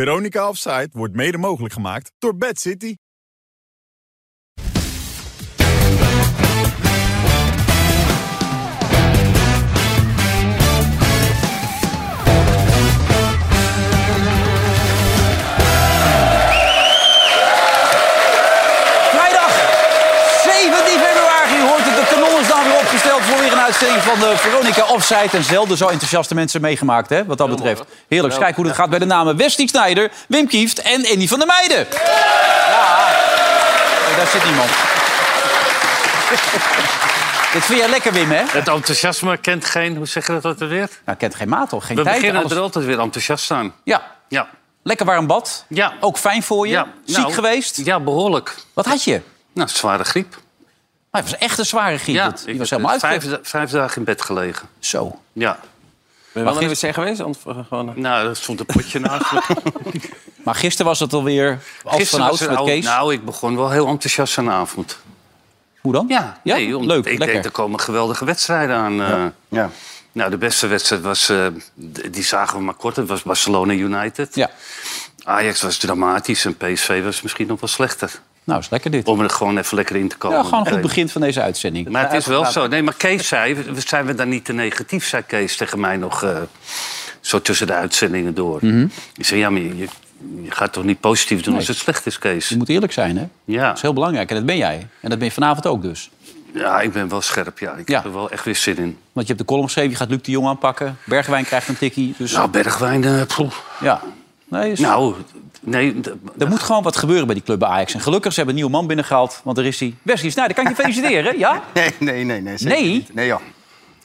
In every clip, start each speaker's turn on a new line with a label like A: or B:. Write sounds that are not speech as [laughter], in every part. A: Veronica Offside wordt mede mogelijk gemaakt door Bad City.
B: Vrijdag 17 februari hoort het. De kanon is dan weer opgesteld voor weer een uitzending van de Veronica Offside. En zelden zo enthousiaste mensen meegemaakt, hè, wat dat betreft. Heerlijk. Eens Kijk hoe het gaat bij de namen Westie Snijder, Wim Kieft en Andy van der Meijden. Ja, Oh, daar zit niemand. [laughs] Dit vind jij lekker, Wim, hè?
C: Het enthousiasme kent geen, hoe zeggen we dat er weer?
B: Nou, kent geen maat, toch? Geen
C: We
B: tijd.
C: beginnen
B: alles-
C: er altijd weer enthousiast aan.
B: Ja,
C: Ja.
B: lekker warm bad.
C: Ja.
B: Ook fijn voor je.
C: ja.
B: Ziek
C: Nou,
B: geweest.
C: Ja, behoorlijk.
B: Wat had je?
C: Nou, zware griep.
B: Maar het was echt een zware griep.
C: Ja,
B: Dat- Die
C: ik-
B: was helemaal
C: vijf,
B: uit.
C: da- vijf dagen in bed gelegen.
B: Zo.
C: Ja.
D: Ben je wel in de wc geweest? Anders
B: eh,
D: gewoon...
C: Nou, er stond een
B: [laughs]
C: potje naast me.
B: Maar gisteren was het alweer als van
C: Gisteren was
B: ouds
C: er
B: met
C: al-
B: Kees.
C: Nou, ik begon wel heel enthousiast aan de avond.
B: Hoe dan?
C: Ja, nee, omdat
B: leuk,
C: Ik
B: lekker.
C: denk, er komen geweldige wedstrijden aan. eh.
D: Ja.
C: Nou, de beste wedstrijd was, eh, d- die zagen we maar kort, dat was Barcelona United.
B: Ja,
C: Ajax was dramatisch en PSV was misschien nog wel slechter.
B: nou is lekker dit.
C: Om er gewoon even lekker in te komen.
B: Ja, gewoon een goed
C: Meteen.
B: begin van deze uitzending.
C: Maar het is wel zo. Nee, maar Kees zei, we- zijn we dan niet te negatief, zei Kees tegen mij nog eh, zo tussen de uitzendingen door.
B: Mhm.
C: Ik zei, ja, maar je, je- je gaat toch niet positief doen als het slecht is, Kees?
B: Je moet eerlijk zijn, hè?
C: Ja.
B: Dat is heel belangrijk en dat ben jij. En dat ben je vanavond ook dus.
C: ja, ik ben wel scherp, ja. Ik
B: Ja.
C: heb er wel echt weer zin in.
B: Want je hebt de column geschreven, je gaat Luc de Jong aanpakken. Bergwijn krijgt een tikkie. Dus
C: Nou, Bergwijn, eh, poeh.
B: ja. Nee, is-
C: Nou, nee, d-
B: Er moet gewoon wat gebeuren bij die club bij Ajax. En gelukkig, ze hebben een nieuwe man binnengehaald. Want er is hij. Wesley Sneijder,
C: [laughs]
B: kan ik je feliciteren? Ja?
E: [laughs] Nee, nee, nee. Nee? zeker
B: Nee? Ah.
E: niet. Nee, joh.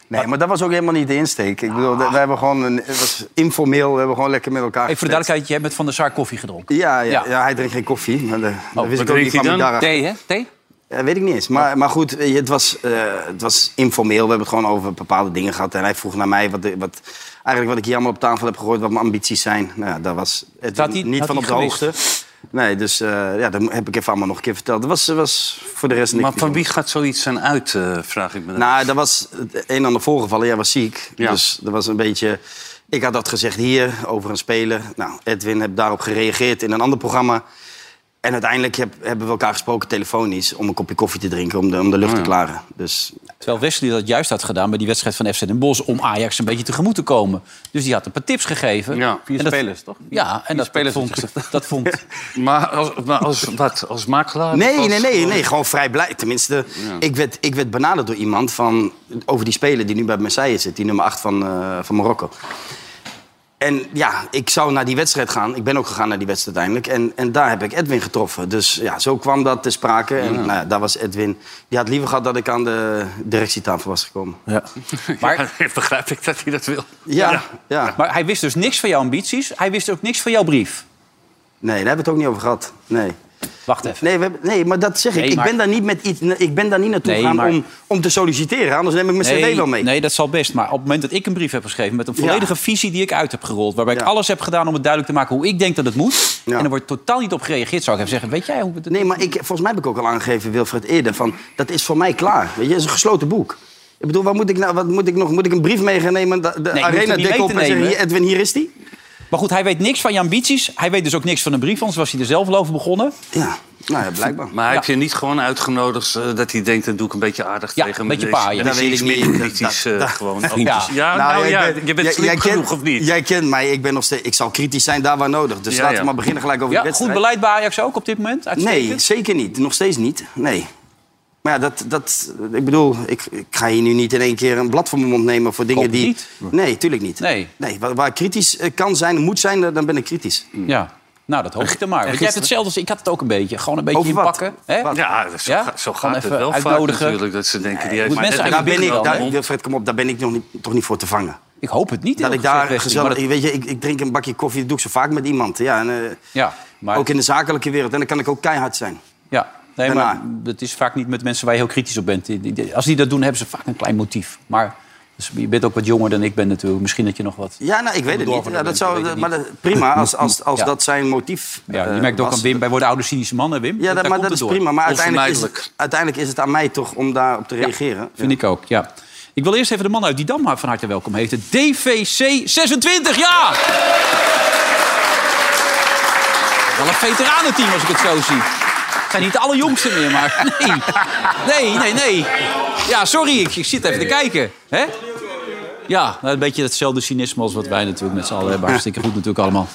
E: Nee, maar dat was ook helemaal niet de insteek. Ik bedoel, we hebben gewoon een, het was informeel, we hebben gewoon lekker met elkaar
B: Even voor de duidelijkheid,
E: gekletst.
B: jij hebt met Van der Saar koffie gedronken.
E: Ja, ja,
B: Ja. Oh,
E: ja, hij drinkt geen koffie. Maar de, dat wist ik ook
C: drinkt
E: niet van
C: hij
E: die
C: dan?
E: dag.
D: Thee, hè? Thee?
E: Ja, weet ik niet eens.
B: Oh.
E: Maar, maar goed, weet je, het was, eh, het was informeel. We hebben het gewoon over bepaalde dingen gehad. En hij vroeg naar mij wat, de- wat, eigenlijk wat ik hier allemaal op tafel heb gegooid, wat mijn ambities zijn. Nou, ja, daar was het
B: Had hij-
E: niet
B: had
E: van op
B: hij
E: de
B: gewist?
E: hoogte. Nee, dus eh, ja, dat heb ik even allemaal nog een keer verteld. Dat was, was voor de rest niks.
C: maar van wie gaat zoiets dan uit, eh, vraag ik me dan.
E: Nou, dat was het een en ander voorgevallen. Jij was ziek.
C: Ja.
E: Dus dat was een beetje. Ik had dat gezegd hier over een speler. Nou, Edwin heb daarop gereageerd in een ander programma. En uiteindelijk heb- hebben we elkaar gesproken telefonisch om een kopje koffie te drinken, om de, om de lucht te klaren. Dus
B: Terwijl Wesley dat juist had gedaan bij die wedstrijd van FC Den Bosch... om Ajax een beetje tegemoet te komen. Dus die had een paar tips gegeven.
C: Ja.
D: Vier
B: En dat-
D: spelers, toch?
B: Ja, en dat,
D: spelers
B: vond, dat vond...
C: Maar, als, maar als, wat, als makelaar?
E: Nee,
C: Als- eh,
E: nee, nee, nee. Gewoon vrij blij. Tenminste, ik, werd, ik werd benaderd door iemand van, over die speler die nu bij Marseille zit. Die nummer 8 van, eh, van Marokko. En ja, ik zou naar die wedstrijd gaan. Ik ben ook gegaan naar die wedstrijd uiteindelijk. En, en daar heb ik Edwin getroffen. Dus ja, zo kwam dat te sprake. En nou ja, daar was Edwin. Die had liever gehad dat ik aan de directietafel was gekomen.
D: Ja.
B: Maar,
C: Begrijp ik dat hij dat wil.
E: Ja, ja.
B: maar hij wist dus niks van jouw ambities. Hij wist ook niks van jouw brief.
E: Nee, daar hebben we het ook niet over gehad. Nee.
B: Wacht even.
E: Nee, we hebben- nee, maar dat zeg ik.
B: Nee,
E: ik,
B: maar-
E: ben daar niet met iets, ik ben daar niet naartoe
B: Nee,
E: gegaan
B: maar-
E: om, om te solliciteren. Anders neem ik mijn cv wel mee.
B: nee, dat zal best. Maar op het moment dat ik een brief heb geschreven... met een volledige visie die ik uit heb gerold... waarbij ik
E: Ja.
B: alles heb gedaan om het duidelijk te maken hoe ik denk dat het moet...
E: Ja.
B: en er wordt totaal niet op gereageerd, zou ik even zeggen... weet jij hoe we het...
E: Nee, maar ik, volgens mij heb ik ook al aangegeven, Wilfred, eerder... van dat is voor mij klaar. Weet je, het is een gesloten boek. Ik bedoel, wat moet ik, nou, wat moet ik nog? Moet ik een brief mee gaan nemen? De, de
B: je hoeft
E: arena
B: hem niet
E: dik
B: mee
E: op
B: te
E: en zeggen,
B: nemen.
E: hier, Edwin, hier is die?
B: Maar goed, hij weet niks van je ambities. Hij weet dus ook niks van een brief, anders was hij er zelf al over begonnen.
E: Ja, nou ja, blijkbaar.
C: Maar hij heeft je niet gewoon uitgenodigd eh, dat hij denkt... dat doe ik een beetje aardig
B: Ja,
C: tegen
B: een
C: met
B: beetje
C: deze-
B: paaien.
C: met
E: Dat weet
C: deze
E: ik niet.
C: meer kritisch,
E: Dat-
C: eh,
E: dat-
C: gewoon.
B: Ja.
C: Ja,
E: Nou,
C: nou
E: ik
C: ja,
E: ben-
C: je bent
E: jij-
C: slim
E: jij kent-
C: genoeg, of niet?
E: Jij kent mij, ik, ben nog steeds, ik zal kritisch zijn daar waar nodig. Dus
C: Ja,
E: laten
C: ja.
E: we maar beginnen gelijk over
B: Ja,
E: de
B: goed
E: wedstrijd.
B: beleid bij Ajax ook op dit moment? Uitstekend.
E: Nee, zeker niet. Nog steeds niet. Nee. Maar ja, dat, dat, ik bedoel, ik, ik ga hier nu niet in één keer een blad voor mijn mond nemen voor dingen
B: Hoop
E: die...
B: niet.
E: Nee, tuurlijk niet.
B: Nee.
E: nee waar, waar kritisch eh, kan zijn, moet zijn, eh, dan ben ik kritisch.
B: Ja. Nou, dat hoop ik dan maar. Want jij hebt hetzelfde als ik had het ook een beetje. Gewoon een beetje
E: Over wat?
B: inpakken. Hè?
E: Wat?
C: Ja, dus zo,
B: Ja?
C: ga- zo
B: Gewoon
C: gaat het
B: even
C: wel
B: uitnodigen.
C: vaak natuurlijk. Dat ze denken, die heeft
B: moet
C: maar
B: mensen
C: net
E: Daar
C: een
E: ben ik,
C: beetje
E: daar,
C: mond.
E: Wilfred, kom op, daar ben ik nog niet, toch niet voor te vangen.
B: Ik hoop het niet.
E: Dat ik
B: eerlijk
E: daar
B: gezegd, Wesley,
E: gezellig...
B: maar dat-
E: Weet je, ik, ik drink een bakje koffie, dat doe ik zo vaak met iemand. Ja, en, eh,
B: Ja, maar...
E: Ook in de zakelijke wereld. En dan kan ik ook keihard zijn.
B: Ja. Nee,
E: Daarna.
B: maar dat is vaak niet met mensen waar je heel kritisch op bent. Die- die- die- Als die dat doen, hebben ze vaak een klein motief. Maar dus je bent ook wat jonger dan ik ben natuurlijk. Misschien dat je nog wat...
E: Ja, nou, ik weet het niet. Ja, dat zou, maar dat-
B: [laughs]
E: prima, als, als, als
B: Ja.
E: dat zijn motief
B: Ja, je
E: eh,
B: merkt ook
E: was.
B: aan Wim. Wij worden oude cynische mannen, Wim.
E: Ja, dat, maar dat is prima. Maar uiteindelijk is, het,
C: Onvermijdelijk.
E: uiteindelijk is het aan mij toch om daarop te reageren.
B: Vind ik ook, ja. Ik wil eerst even de man uit die Dam van harte welkom heten. DVC 26, ja! wel een veteranenteam als ik het zo zie. Het zijn niet de allerjongsten meer, maar [laughs] nee. Nee, nee, nee. Ja, sorry, ik, ik zit even te kijken. Hè? Ja, nou, een beetje hetzelfde cynisme als wat wij natuurlijk met z'n allen hebben. Hartstikke goed natuurlijk allemaal.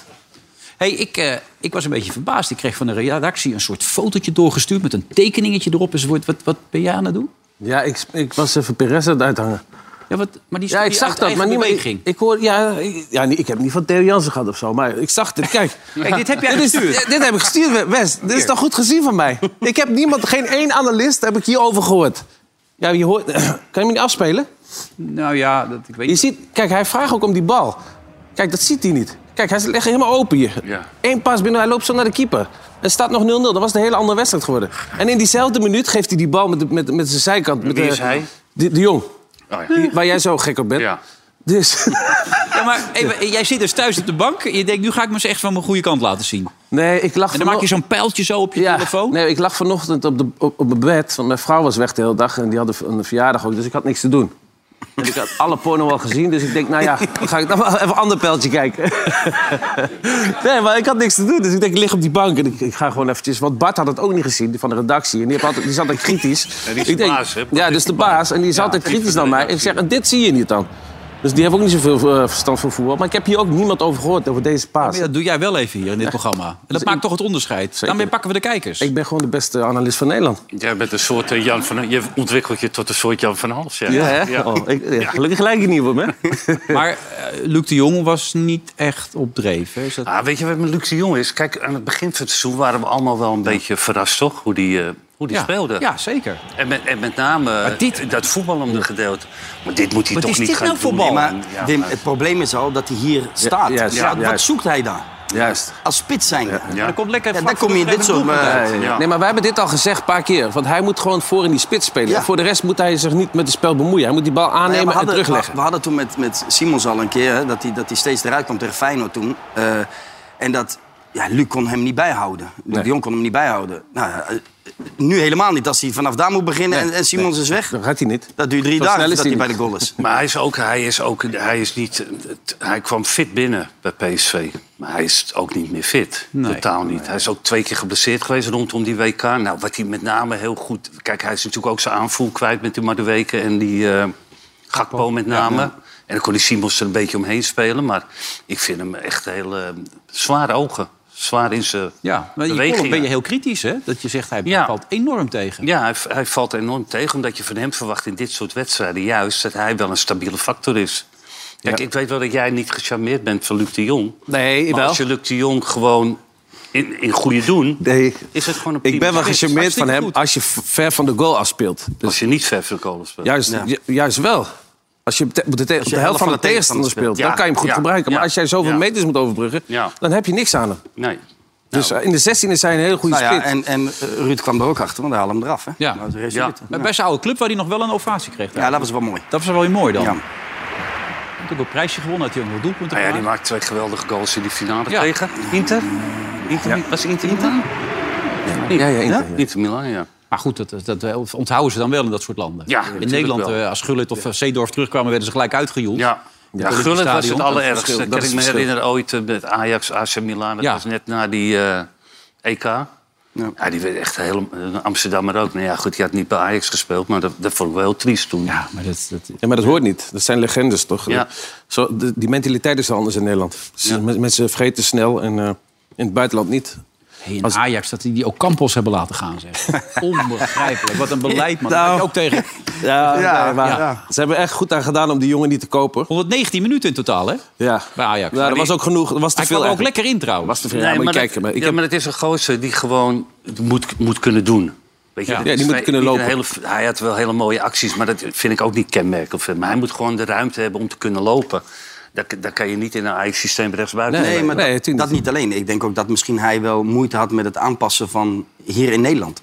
B: hey, ik, eh, ik was een beetje verbaasd. Ik kreeg van de redactie een soort fotootje doorgestuurd... met een tekeningetje erop enzovoort. Wat, wat ben jij aan het doen?
D: Ja, ik, ik was even Perez aan het uithangen.
B: Ja, wat, maar die
D: Ja, ik
B: die
D: zag
B: uit
D: dat,
B: eigen
D: maar niemand...
B: beweging.
D: Ik, ik hoor, ja, ik, ja, nee, ik heb niet van Theo Jansen gehad of zo, maar ik zag dit. Kijk,
B: Kijk, dit heb jij
D: dit, is,
B: gestuurd.
D: dit heb ik gestuurd, Wes. Dit is toch goed gezien van mij? Ik heb niemand, geen één analist heb ik hierover gehoord. Ja, je hoort... [clears throat] Kan je me niet afspelen?
B: Nou ja, dat, ik weet
D: Je
B: niet.
D: ziet, kijk, hij vraagt ook om die bal. Kijk, dat ziet hij niet. Kijk, hij legt helemaal open hier.
C: Ja.
D: Eén pas binnen, hij loopt zo naar de keeper. Het staat nog 0-0, dat was een hele andere wedstrijd geworden. En in diezelfde minuut geeft hij die bal met, de- met, met zijn zijkant. Met
C: Wie
D: de-
C: is hij?
D: De, de jong,
C: Oh, ja.
D: waar jij zo gek op bent.
C: Ja.
D: Dus, [laughs]
B: Ja, maar even, jij zit dus thuis op de bank. Je denkt, nu ga ik me eens echt van mijn goede kant laten zien.
D: nee, ik lag
B: En dan maak je zo'n pijltje zo op je
D: Ja,
B: telefoon.
D: Nee, ik lag vanochtend op, de, op, op mijn bed, want mijn vrouw was weg de hele dag en die had een verjaardag ook, dus ik had niks te doen. En ik had alle porno al gezien, dus ik denk, nou ja, dan ga ik nog wel even een ander pijltje kijken. nee, maar ik had niks te doen, dus ik denk, ik lig op die bank en ik, ik ga gewoon eventjes... Want Bart had het ook niet gezien, die van de redactie, en die, heeft altijd, die is altijd kritisch.
C: die is
D: ik
C: de
D: denk,
C: baas, hè?
D: Ja, dus de baas, en die is altijd kritisch naar mij. En ik zeg, en dit zie je niet dan. Dus die heeft ook niet zoveel eh, verstand van voetbal. Maar ik heb hier ook niemand over gehoord, over deze paas.
B: Maar dat doe jij wel even hier in dit programma. En dat maakt toch het onderscheid. Daarmee pakken we de kijkers.
D: Dus Ik ben gewoon de beste analist van Nederland.
C: Jij bent een soort eh, Jan van... Je ontwikkelt je tot een soort Jan van Hals, ja.
D: Ja, hè? Oh, ik, ja, Gelukkig gelijk ik niet op hem, hè?
B: Maar eh, Luc de Jong was niet echt op dreef. Hè? Is dat...
C: Ah, weet je wat mijn Luc de Jong is? Kijk, aan het begin van het seizoen waren we allemaal wel een beetje verrast, toch? Hoe die, eh, hoe die
B: ja.
C: speelde.
B: Ja, zeker.
C: En met, en met name eh,
B: dit-
C: dat voetballende gedeelte. Maar dit moet hij
B: Wat
C: toch
B: is
C: niet
B: dit
C: gaan
B: nou voor
C: doen.
B: bal?
E: Maar
C: Ja,
E: Wim,
C: maar-
E: het probleem is al dat hij hier staat.
D: juist,
E: Dus
D: ja,
E: wat
D: juist.
E: zoekt hij daar?
D: [laughs] Juist.
E: Als spits zijn. Ja,
C: Ja.
B: Dan komt lekker
E: dan
B: vlak
E: kom je in
B: voor de
E: dit soort...
B: doelpunt uit.
E: eh,
C: Ja.
D: Nee, maar wij hebben dit al gezegd een paar keer. Want hij moet gewoon voor in die spits spelen.
E: Ja.
D: En voor de rest moet hij zich niet met het spel bemoeien. Hij moet die bal
E: Nou ja,
D: aannemen
E: we,
D: en
E: hadden,
D: terugleggen.
E: we hadden toen met, met Simons al een keer... Hè, dat hij dat hij steeds eruit kwam tegen Feyenoord toen. Eh, en dat... Ja, Luc kon hem niet bijhouden. Luc de Jong kon hem niet bijhouden. Nou, ja, eh, nu helemaal niet. Als hij vanaf daar moet beginnen en, en Simons is weg...
D: Dat gaat hij niet.
E: Dat duurt drie
D: Zo
E: dagen
D: snel is
E: dat
D: hij
E: hij bij de
D: niet.
E: goal is.
C: Maar hij is ook, hij is ook, hij is niet, het- hij kwam fit binnen bij PSV. Maar hij is ook niet meer fit. Totaal niet. Hij is ook twee keer geblesseerd geweest rondom die WK. Nou, wat hij met name heel goed... Kijk, hij is natuurlijk ook zijn aanvoer kwijt met die Maduweke en die eh Gakpo met name. En dan kon die Simons er een beetje omheen spelen. Maar ik vind hem echt heel eh, zware ogen. Zwaar in zijn
B: Ja, maar in je
C: bewegingen.
B: column ben je heel kritisch, hè? Dat je zegt, hij
C: Ja.
B: valt enorm tegen.
C: Ja, hij, hij valt enorm tegen, omdat je van hem verwacht in dit soort wedstrijden juist dat hij wel een stabiele factor is. Kijk, ik weet wel dat jij niet gecharmeerd bent van Luc de Jong.
D: Nee,
C: maar
D: wel.
C: als je Luc de Jong gewoon in, in goede doen,
D: Nee.
C: is het gewoon een
D: Ik ben wel
C: spits.
D: gecharmeerd van hem
B: goed.
D: als je v- ver van de goal afspeelt. Dus
C: Als je niet ver van de kolen speelt.
D: juist, ju- juist wel. Als je te- op de, te- op de helft van de, tegenstander speelt,
C: Ja,
D: dan kan je hem goed
C: ja,
D: gebruiken. Maar
C: ja,
D: als jij zoveel
C: ja.
D: meters moet overbruggen,
C: Ja.
D: dan heb je niks aan hem.
C: Nee.
D: Dus eh, in de 16 is hij een hele goede
E: Nou ja, en,
D: spits.
E: en eh, Ruud kwam er ook achter, want hij haalde hem eraf. Hè?
B: Ja.
E: Nou, de rest
C: Ja.
E: niet.
B: Maar bij zijn oude club waar hij nog wel een ovatie kreeg.
E: ja, dat was wel mooi.
B: Dat was wel weer mooi dan.
E: Ja.
B: Hij heeft ook een prijsje gewonnen, had hij ook nog doelpunten
C: Nou ja, die
B: gemaakt.
C: maakt twee geweldige goals in die finale
B: Ja.
C: tegen Inter. Inter Was Inter Milan?
D: Ja, ja, Inter, ja.
C: Inter Milan, ja.
B: Maar goed, dat, dat eh, onthouden ze dan wel in dat soort landen.
C: Ja,
B: in
C: natuurlijk
B: Nederland,
C: wel.
B: eh, als Gullit of eh, Seedorf terugkwamen, werden ze gelijk uitgejoeld.
C: Ja. Ja,
B: Olympisch
C: Gullit was
B: Stadion.
C: het
D: verschil,
C: allerergste.
D: dat
C: Ik kan
D: is
C: ik
D: het
C: me
D: verschil.
C: herinneren ooit eh, met Ajax, AC Milan. Dat
B: Ja.
C: was net na die eh, EK. Ja. die werd echt helemaal... eh, Amsterdammer ook. Nou ja, goed, die had niet bij Ajax gespeeld. Maar dat, dat vond ik wel heel triest toen.
B: Ja, maar dat, dat,
D: Ja, maar dat hoort niet. Dat zijn legendes, toch?
C: Ja.
D: Zo, de- die mentaliteit is anders in Nederland. Ze- men- Mensen vergeten snel en eh, in het buitenland niet.
B: Hey, in
D: Als-
B: Ajax, dat die die ook Campos hebben laten gaan, zeg.
D: [laughs]
B: Onbegrijpelijk. Wat een
D: Nou.
B: beleid, man. Daar had je ook tegen.
D: Ja,
E: nee, maar- ja.
D: Ze hebben echt goed aan gedaan om die jongen niet te kopen.
B: 119 minuten in totaal, hè?
D: Ja,
B: Bij Ajax.
D: Ja,
B: Maar
D: dat
B: die-
D: was ook genoeg. Dat was te
B: Hij
D: veel
B: kwam er ook
D: eigenlijk.
B: lekker in, trouwens.
D: was te veel. ja, maar kijk,
C: dat,
D: maar ik
C: ja,
D: heb-
C: maar dat is een gozer die gewoon het moet, moet kunnen doen. Weet je,
B: Ja.
C: dat
D: Ja, die
C: is
D: moet
C: een-
D: kunnen
C: niet een
D: lopen.
C: hele- hij had wel hele mooie acties, maar dat vind ik ook niet kenmerkend. voor hem. Maar hij moet gewoon de ruimte hebben om te kunnen lopen. Dat, dat kan je niet in een Ajax-systeem rechtsbuiten.
E: Nee, maar
D: nee,
E: dat,
D: tuurlijk
E: dat niet alleen. Ik denk ook dat misschien hij wel moeite had met het aanpassen van hier in Nederland.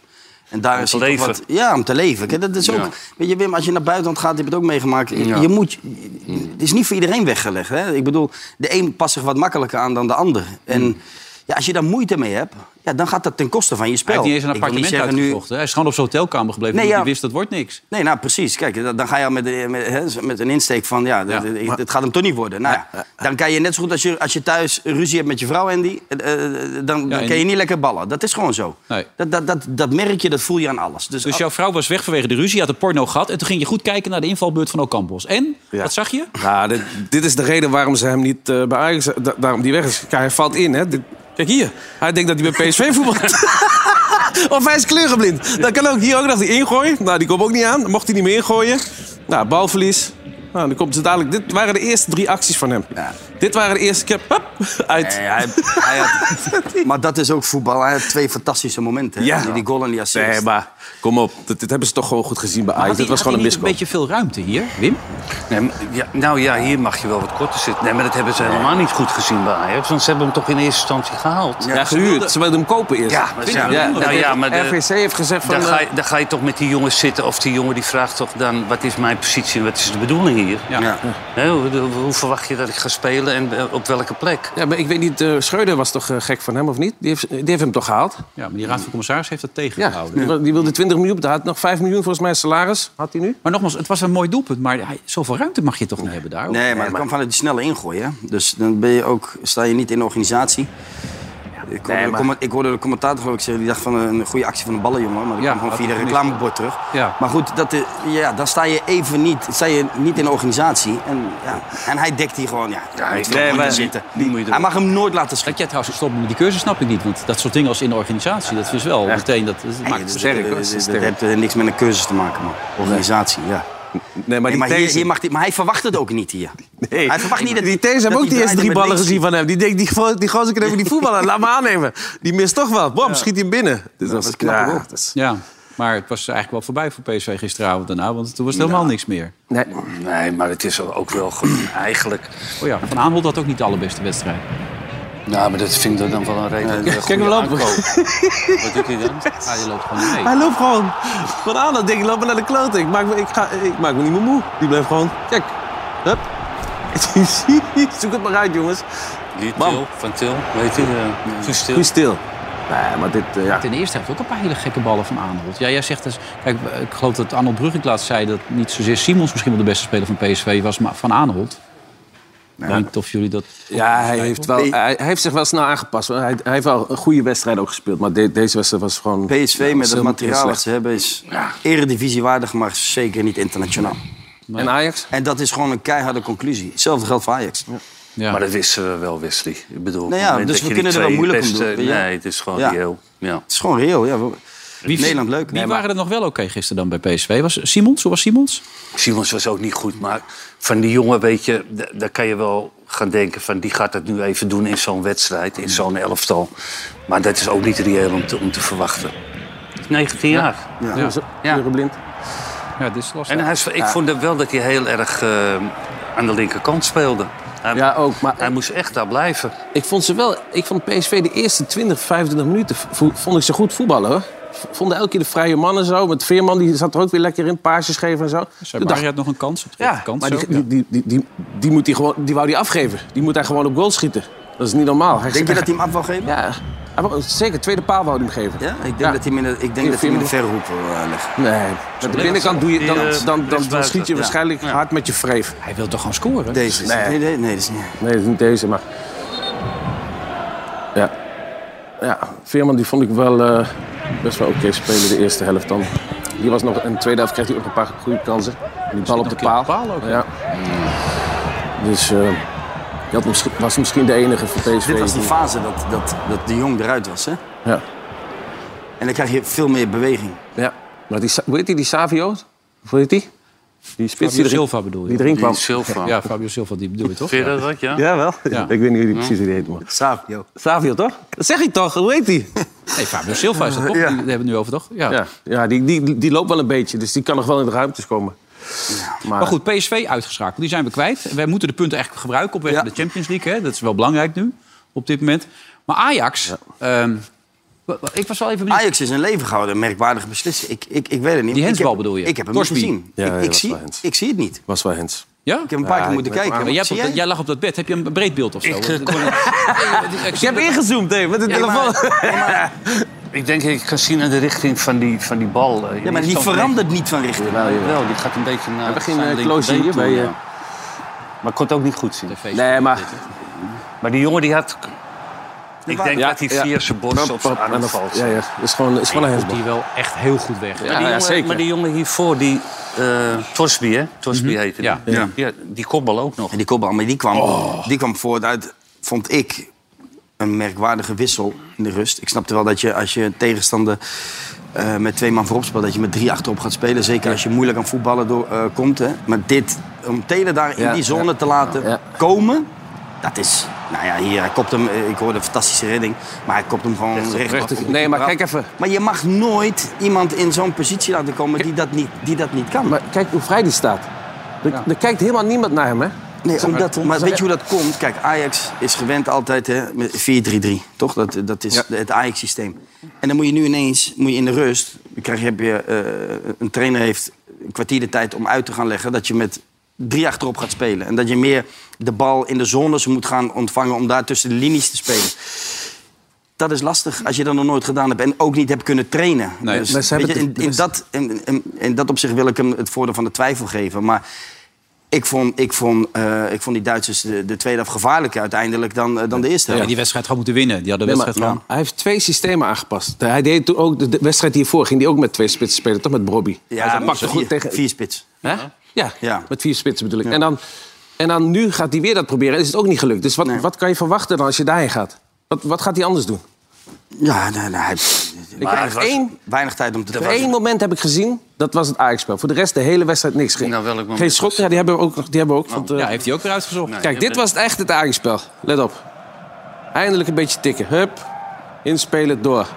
E: En daar is
C: te
E: hij toch
C: leven.
E: Wat, ja, om te leven. Kijk, dat is ook,
C: Ja.
E: Weet je, Wim, als je naar buitenland gaat, heb je het ook meegemaakt. Je-
C: Ja.
E: Je moet,
B: Mm. Mm.
E: het is niet voor iedereen weggelegd. Hè? Ik bedoel, de een past zich wat makkelijker aan dan de ander. En Ja, als je daar moeite mee hebt, ja, dan gaat dat ten koste van je spel.
B: Hij heeft niet eens een
E: Ik wil niet
B: appartement
E: zeggen nu-
B: uitgevochten. Hij is gewoon op zijn hotelkamer gebleven.
E: Nee,
B: omdat
E: ja.
B: hij wist, dat wordt niks.
E: Nee, nou precies. Kijk, da- dan ga je al met, eh, met, hè, met een insteek van... ja, d-
B: Ja,
E: d- het gaat hem toch niet worden. Nou, ja, dan kan je net zo goed als je, als je thuis ruzie hebt met je vrouw, Andy... eh, eh, dan, dan
B: en-
E: kan je niet lekker ballen. Dat is gewoon zo.
B: Nee.
E: Dat, dat, dat, dat merk je, dat voel je aan alles. Dus,
D: Oh.
B: Dus jouw vrouw was weg vanwege de ruzie, had een porno gehad... en toen ging je goed kijken naar de invalbeurt van Ocampos. En?
D: Ja.
B: Wat zag je?
D: Nou, dit, dit is de reden waarom ze hem niet eh, bij Ajax... da- daarom die weg is. Kijk, hij valt in, hè. Dit- kijk hier. Hij denkt dat hij bij [laughs] PSV voetbalt. of hij is kleurenblind. Dat kan ook. Hier ook nog die ingooi. Nou, die komt ook niet aan. Dan mocht hij niet meer ingooien. Nou, balverlies. Nou, dan komt ze dadelijk... Dit waren de eerste drie acties van hem.
E: Ja.
D: Dit waren de eerste keer... Hup, uit.
E: Nee, hij- hij had- maar dat is ook voetbal. Hij had twee fantastische momenten. hè. Die, die goal en die assist.
D: Nee, maar kom op. Dit, dit hebben ze toch gewoon goed gezien bij Ajax.
B: Had
D: Dit
B: hij-
D: was gewoon een
B: had hij
D: miskoop.
B: niet een beetje veel ruimte hier, Wim?
C: Nee, maar- ja, nou ja, hier mag je wel wat korter zitten. Nee, maar dat hebben ze helemaal niet goed gezien bij Ajax. Want ze hebben hem toch in eerste instantie gehaald.
D: Ja, gehuurd. Ze wilden hem kopen eerst.
C: Ja, maar ja,
D: Ja,
C: nou ja, maar de-
D: RVC heeft gezegd van...
C: Dan
D: eh,
C: ga, je, dan ga je toch met die jongens zitten. Of die jongen die vraagt toch dan... wat is mijn positie en wat is de bedoeling hier?
E: Ja.
C: Hè, hoe, hoe verwacht je dat ik ga spelen en eh, op welke plek?
D: Ja, maar ik weet niet, eh Schreuder was toch eh, gek van hem, of niet? Die heeft, die heeft hem toch gehaald?
B: Ja, maar die raad van commissaris heeft dat
D: Ja,
B: tegengehouden.
D: die wil- die wilde 20 miljoen, daar had nog 5 miljoen volgens mij salaris. Had hij nu?
B: Maar nogmaals, het was een mooi doelpunt. Maar hij- zoveel ruimte mag je toch niet hebben daar? hoor?
E: Nee, maar dat kwam vanuit die snelle ingooi. Hè? Dus dan ben je ook, sta je niet in de organisatie. Ik hoorde, de, comma- ik hoorde de commentator geloof ik zeggen, die dacht van eh, een goede actie van de ballen, jongen. Maar dat
B: Ja,
E: kwam gewoon
B: had
E: via de
B: ik niet.
E: reclamebord terug.
B: Ja.
E: Maar goed, dat, de- ja, dan sta je even niet, sta je niet in de organisatie. En, ja, en hij dekt hier gewoon, ja, hij moet
C: nee,
E: er
C: maar-
E: zitten.
C: die moet je
E: Hij mag hem nooit laten
B: Dat
E: schieten.
B: jij trouwens stopt met die cursus snap ik niet. Want dat soort dingen als in de organisatie, dat is wel meteen... Dat, dat maakt het
E: Nee, dus
B: sterk,
E: dat-
B: hoor.
E: dat- Dat dat heeft eh, niks met een cursus te maken, man. Organisatie, ja. Nee, maar, hier, hier mag die, maar hij verwacht het ook niet hier. hij verwacht niet dat
D: die Thees hebben ook
E: die
D: die eerste
E: draait
D: drie
E: en met
D: ballen
E: links
D: gezien van hem. Die denkt, die, gro- die gozer kan even die voetballer, laat me aannemen. Die mist toch wel. Bam, schiet hij binnen. Dus dat is knap ook.
B: Ja, maar het was eigenlijk wel voorbij voor PSV gisteravond daarna. Want toen was het helemaal niks meer.
D: Nee,
C: Nee, maar het is ook wel gewoon [clears throat] eigenlijk...
B: Oh ja, Van Aanholt had ook niet de allerbeste wedstrijd.
C: Nou, maar dat vind ik dan wel een reden.
D: kijk hem lopen.
C: Wat doet hij dan?
B: Ah, die loopt gewoon
D: [laughs]
B: mee.
D: Hij loopt gewoon. Van aan dat ding, loop maar naar de klote. Ik maak me, ik ga, ik maak me niet meer moe. Die blijft gewoon, kijk. Hup. [laughs] Zoek het maar uit, jongens.
C: Die
D: Bam.
C: Til, van Til, weet je, uh, stil.
D: Goed stil. Nee, maar dit, eh, ja.
B: Ten eerste heeft ook een paar hele gekke ballen van Aanholt. Ja, jij zegt dus... Kijk, ik geloof dat Arnold Brugge laatst zei... dat niet zozeer Simons misschien wel de beste speler van PSV was... maar Van Aanholt. Ik weet niet of jullie dat...
D: Ja, hij heeft, wel, hij, hij heeft zich wel snel aangepast. hoor. Hij, hij heeft wel een goede wedstrijd ook gespeeld. Maar de- deze wedstrijd was gewoon...
E: PSV met het
D: heel
E: materiaal
D: slecht.
E: dat ze hebben is eredivisiewaardig, maar zeker niet internationaal.
D: En Ajax?
E: En dat is gewoon een keiharde conclusie. Hetzelfde geldt voor Ajax.
B: Ja.
C: Maar dat wisten we wel, Wesley. Ik bedoel, op
E: Nou
C: het
E: ja,
C: moment
E: dus
C: dat
E: we
C: je die
E: kunnen er wel
C: twee
E: moeilijk om doen, weet je?
C: Nee, het is gewoon
E: Ja.
C: heel... Ja.
E: Het is gewoon reëel. Ja.
B: Wie-
E: Nederland leuk.
B: Wie
E: Nee, maar-
B: waren er nog wel oké gisteren dan bij PSV? Was Simons? Hoe was Simons?
C: Simons was ook niet goed, maar van die jongen, weet je... da- daar kan je wel gaan denken van, die gaat dat nu even doen in zo'n wedstrijd, in zo'n elftal. Maar dat is ook niet reëel om te, om te verwachten. 19 jaar.
E: Ja.
D: Ja.
C: Ja.
D: Kleurenblind.
B: Ja, dit is lastig.
C: En hij, is- ik vond hem wel dat hij heel erg eh, aan de linkerkant speelde. Hij,
D: Ja, ook. Maar
C: hij moest echt daar blijven.
D: ik vond ze wel... Ik vond PSV de eerste 20, 25 minuten... vo- vond ik ze goed voetballen, hoor. V- Vonden elke keer de vrije mannen zo. Met Veerman, die zat er ook weer lekker in. Paasjes geven en zo. Toen dacht
B: Sabari had nog een kans op de
D: Ja,
B: kant.
D: maar die,
B: zo.
D: die, die, die, die, die moet hij gewoon, die wou hij afgeven. Die moet hij gewoon op goal schieten. Dat is niet normaal. Hij-
E: Denk je dat hij hem af wil geven?
D: Ja, hij wou- zeker. Tweede paal wou hij hem geven.
E: Ja? Ik denk
D: Ja.
E: dat hij hem in de, ik denk dat hij hem in de verre hoek wil eh, leggen.
D: Nee, met de binnenkant doe je, dan,
C: Die, eh,
D: dan, dan, dan,
C: rechtsbuiten.
D: schiet je
C: Ja.
D: waarschijnlijk hard met je wreef.
B: Hij wil toch gewoon scoren?
E: Deze. is- Nee, nee, nee, dat is niet.
D: Nee, dat is niet deze, maar... Ja. Ja, Veerman die vond ik wel eh, best wel oké spelen de eerste helft dan. Die was nog, in de tweede helft kreeg hij ook een paar goede kansen. Die bal op de
B: nog een keer
D: paal.
B: op de paal ook, hè?
D: ja. Dus eh dat misschien- was misschien de enige voor PSV.
E: Dit was die
D: die-
E: fase dat, dat, dat de jong eruit was. Hè?
D: ja.
E: En dan krijg je veel meer beweging.
D: ja. Maar die, Sa- hoe heet die, die Savio? Hoe heet die? Die spits
B: Fabio
D: die erin,
B: Silva bedoel
D: die
B: je?
D: erin kwam.
C: Die Silva.
B: Ja, Fabio Silva, die bedoel je toch?
C: Vind je dat wat, ja?
D: Ja, wel.
B: Ja.
D: Ik weet niet hoe die precies hoe die heet, man.
E: Savio.
D: Savio, toch? Dat zeg ik toch? Hoe heet die?
B: Nee, Fabio Silva is dat toch?
E: Ja.
B: Die hebben we nu over, toch? Ja.
D: Ja, ja die, die, die loopt wel een beetje, dus die kan nog wel in de ruimtes komen. Maar,
B: Maar goed, PSV uitgeschakeld. Die zijn we kwijt. Wij moeten de punten echt gebruiken op weg
E: Ja.
B: naar de Champions League. Hè? Dat is wel belangrijk nu, op dit moment. Maar Ajax... ehm, wa- wa- ik was wel even benieuwd.
E: Ajax is in leven gehouden. Een merkwaardige beslissing. Ik, ik, ik weet het niet.
B: Die
E: Ik
B: handsbal
E: heb-
B: bedoel je?
E: Ik heb hem
B: Torsby.
E: niet gezien.
D: Ja,
E: ik,
D: ja,
E: ik
D: dat was
E: zie,
D: wel hands.
E: ik zie het niet.
D: was wel Hens.
B: Ja?
E: Ik heb een paar
D: Ja,
E: keer
D: ik
E: moeten
D: weet
E: kijken.
D: maar-
B: Maar jij, hebt
E: Wat zie
B: op dat-
E: jij?
B: jij lag op dat bed. Heb je een breed beeld of zo?
C: Ik, eh, kon-
D: Je hebt ingezoomd, hè, met de telefoon.
C: ik denk, ik kan zien in de richting van die, van die bal. eh,
E: Ja, maar die
C: is toch
E: verandert niet van richting.
C: Jawel, jawel. Wel, die gaat een beetje naar.
D: we geen,
C: zijn
D: eh,
C: linkerbeen
D: close hier
C: toe,
D: bij, eh?
C: eh, Maar ik kon het ook niet goed zien.
D: Nee, maar
C: Maar die jongen die had. Ik denk
D: Ja,
C: dat hij
D: ja.
C: via zijn borst op zijn arm valt.
D: Ja, ja. Het is gewoon, het is gewoon een
B: komt
D: hensbal.
B: die wel echt heel goed weg.
C: Maar, die
D: Ja, ja,
C: jongen,
D: zeker.
C: maar die jongen hiervoor, die eh Torsby, hè? Torsby heette die.
B: Ja.
C: Ja. Die kopbal ook nog.
E: En die kopbal, maar die kwam, die kwam voort uit, vond ik, een merkwaardige wissel in de rust. Ik snapte wel dat je als je een tegenstander eh, met twee man voorop speelt... dat je met drie achterop gaat spelen. Zeker als je moeilijk aan voetballen door, eh, komt. Hè. Maar dit, om Telen daar in
D: Ja,
E: die zone
D: ja.
E: te laten
D: Ja.
E: komen... Dat is, nou ja, hier, hij kopt hem, eh, ik hoorde een fantastische redding, maar hij kopt hem gewoon recht,
D: recht op- nee, maar kijk even.
E: Maar je mag nooit iemand in zo'n positie laten komen die dat niet, die dat niet kan.
D: Maar kijk hoe vrij die staat. Er, er kijkt helemaal niemand naar hem, hè?
E: Nee, omdat, maar weet je hoe dat komt? Kijk, Ajax is gewend altijd hè, met 4-3-3, toch? Dat, dat is het Ajax-systeem. En dan moet je nu ineens, moet je in de rust... Dan krijg je, heb je, eh, een trainer heeft een kwartier de tijd om uit te gaan leggen... dat je met drie achterop gaat spelen. En dat je meer de bal in de zones moet gaan ontvangen... om daar tussen de linies te spelen. Dat is lastig als je dat nog nooit gedaan hebt en ook niet hebt kunnen trainen.
B: Nee,
E: dus,
D: maar ze
E: weet je,
D: hebben
E: in,
D: het-
E: in dat, in, in, in dat opzicht wil ik hem het voordeel van de twijfel geven. Maar ik vond, ik vond, eh, ik vond die Duitsers de, de tweede helft gevaarlijker uiteindelijk dan, eh, dan de eerste
B: Ja,
E: helft.
B: die wedstrijd had moeten winnen. Die hadden de
D: Nee,
B: wedstrijd
D: maar-
B: gewoon...
D: Hij heeft twee systemen aangepast. Hij deed toen ook de de wedstrijd hiervoor ging hij ook met twee spitsen spelen, toch met Bobby.
E: Ja,
D: hij pakte
E: vier-
D: goed tegen.
E: Vier spits.
D: Hè? Ja,
E: Ja.
D: met vier spitsen bedoel ik. En, dan, en dan nu gaat hij weer dat proberen. En is het ook niet gelukt. Dus wat, wat kan je verwachten dan als je daarheen gaat? Wat, wat gaat hij anders doen?
E: Ja, nee, nee, hij-
D: Ik heb echt één,
E: weinig tijd om te
D: één
E: trainen.
D: moment heb ik gezien. Dat was het Ajax-spel. Voor de rest de hele wedstrijd niks. Geen,
C: Nou, welk moment
D: geen schot. Ja, die hebben we ook. nog- Die hebben we ook want, eh,
B: Ja, heeft hij ook weer uitgezocht.
D: Kijk, dit was het echt het Ajax-spel. Let op. Eindelijk een beetje tikken. Hup. Inspelen, door.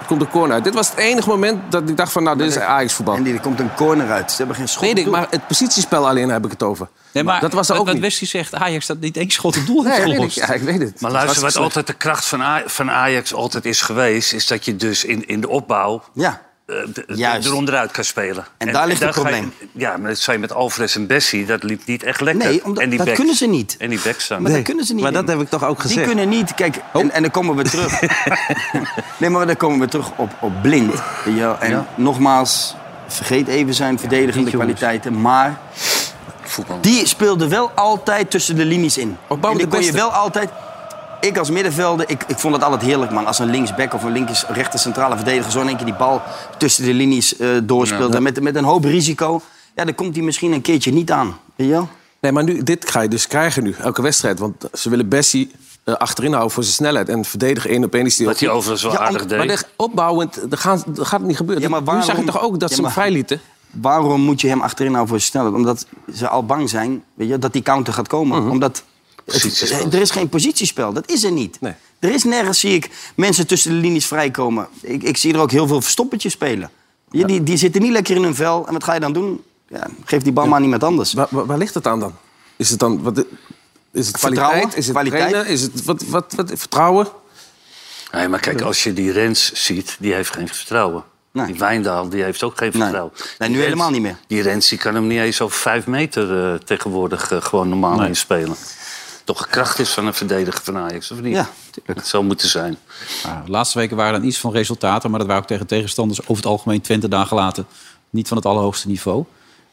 D: Er komt de corner uit. Dit was het enige moment dat ik dacht van... nou, dit is Ajax-voetbal.
E: En die, er komt een corner uit. Ze hebben geen schot.
D: Weet ik,
E: bedoeld.
D: maar het positiespel alleen heb ik het over.
B: Nee, maar
D: dat was er
B: wat-
D: ook
B: wat
D: niet.
B: Wesley zegt, Ajax dat niet één schot op doel heeft
D: Nee, weet ik.
B: gelost.
D: Ja, ik weet het.
C: Maar
D: Dat
C: luister,
D: was
C: wat altijd de kracht van, Aj- van Ajax altijd is geweest... is dat je dus in, in de opbouw
E: Ja.
C: eh, d- d-
E: Juist.
C: eronderuit kan spelen.
E: En daar ligt het
C: ga je-
E: probleem.
C: ja, maar dat zei met Alvarez en Bessie, dat liep niet echt lekker.
E: Nee, omdat-
C: en die
E: dat
C: backs.
E: kunnen ze niet.
C: En die backs dan.
E: Maar dat kunnen ze niet.
D: maar dat
E: in.
D: heb ik toch ook gezegd? Oh.
E: Die kunnen niet. Kijk, en, en dan komen we
D: [laughs]
E: terug. nee, maar dan komen we terug op, op blind. weet je wel. En nogmaals, vergeet even zijn verdedigende kwaliteiten. Maar
C: Voetbal.
E: die speelde wel altijd tussen de linies in.
D: Opbouw
E: en
D: de
E: die kon je
D: beste.
E: wel altijd... Ik als middenvelder, ik, ik vond het altijd heerlijk, man. Als een linksback of een linkers, rechter centrale verdediger... zo in één keer die bal tussen de linies eh doorspeelde. Met, met een hoop risico. Ja, dan komt hij misschien een keertje niet aan. Weet je wel?
D: Nee, maar nu, dit ga je dus krijgen nu, elke wedstrijd. Want ze willen Bessie eh, achterin houden voor zijn snelheid. En verdedigen één op één is die
C: Wat hij
D: ook-
C: overigens wel
E: Ja,
C: aardig
E: om-
C: deed.
D: Maar dit- opbouwend, dat gaat, dat gaat niet gebeuren.
E: Ja, maar
D: Nu zag je
E: waarom-
D: toch ook dat
E: Ja,
D: ze hem
E: maar-
D: vrij lieten?
E: waarom moet je hem achterin nou voor snelheid? Omdat ze al bang zijn weet je, dat die counter gaat komen. Omdat het,
C: Positiespel.
E: er is geen positiespel. Dat is er niet.
D: Nee.
E: Er is nergens, zie ik, mensen tussen de linies vrijkomen. Ik, ik zie er ook heel veel verstoppertjes spelen. Je, die, die zitten niet lekker in hun vel. En wat ga je dan doen? Ja, geef die bal maar aan iemand anders.
D: Waar, waar, waar ligt het aan dan? Is het dan wat, is het
E: Vertrouwen,
D: kwaliteit? Is het
E: kwaliteit.
D: trainen? Is het wat, wat, wat, vertrouwen?
C: Nee, maar kijk, als je die Rens ziet, die heeft geen vertrouwen.
E: Nee.
C: Die Wijndaal, die heeft ook geen
E: Nee.
C: vertrouwen.
E: Nee, nu
C: Die Rens-
E: helemaal niet meer.
C: Die Rens die kan hem niet eens over vijf meter eh, tegenwoordig eh, gewoon normaal inspelen. Toch een kracht is van een verdediger van Ajax, of niet?
E: Ja,
C: tuurlijk. Het zou moeten zijn.
B: Nou, de laatste weken waren dan iets van resultaten, maar dat waren ook tegen tegenstanders over het algemeen 20 dagen later. Niet van het allerhoogste niveau.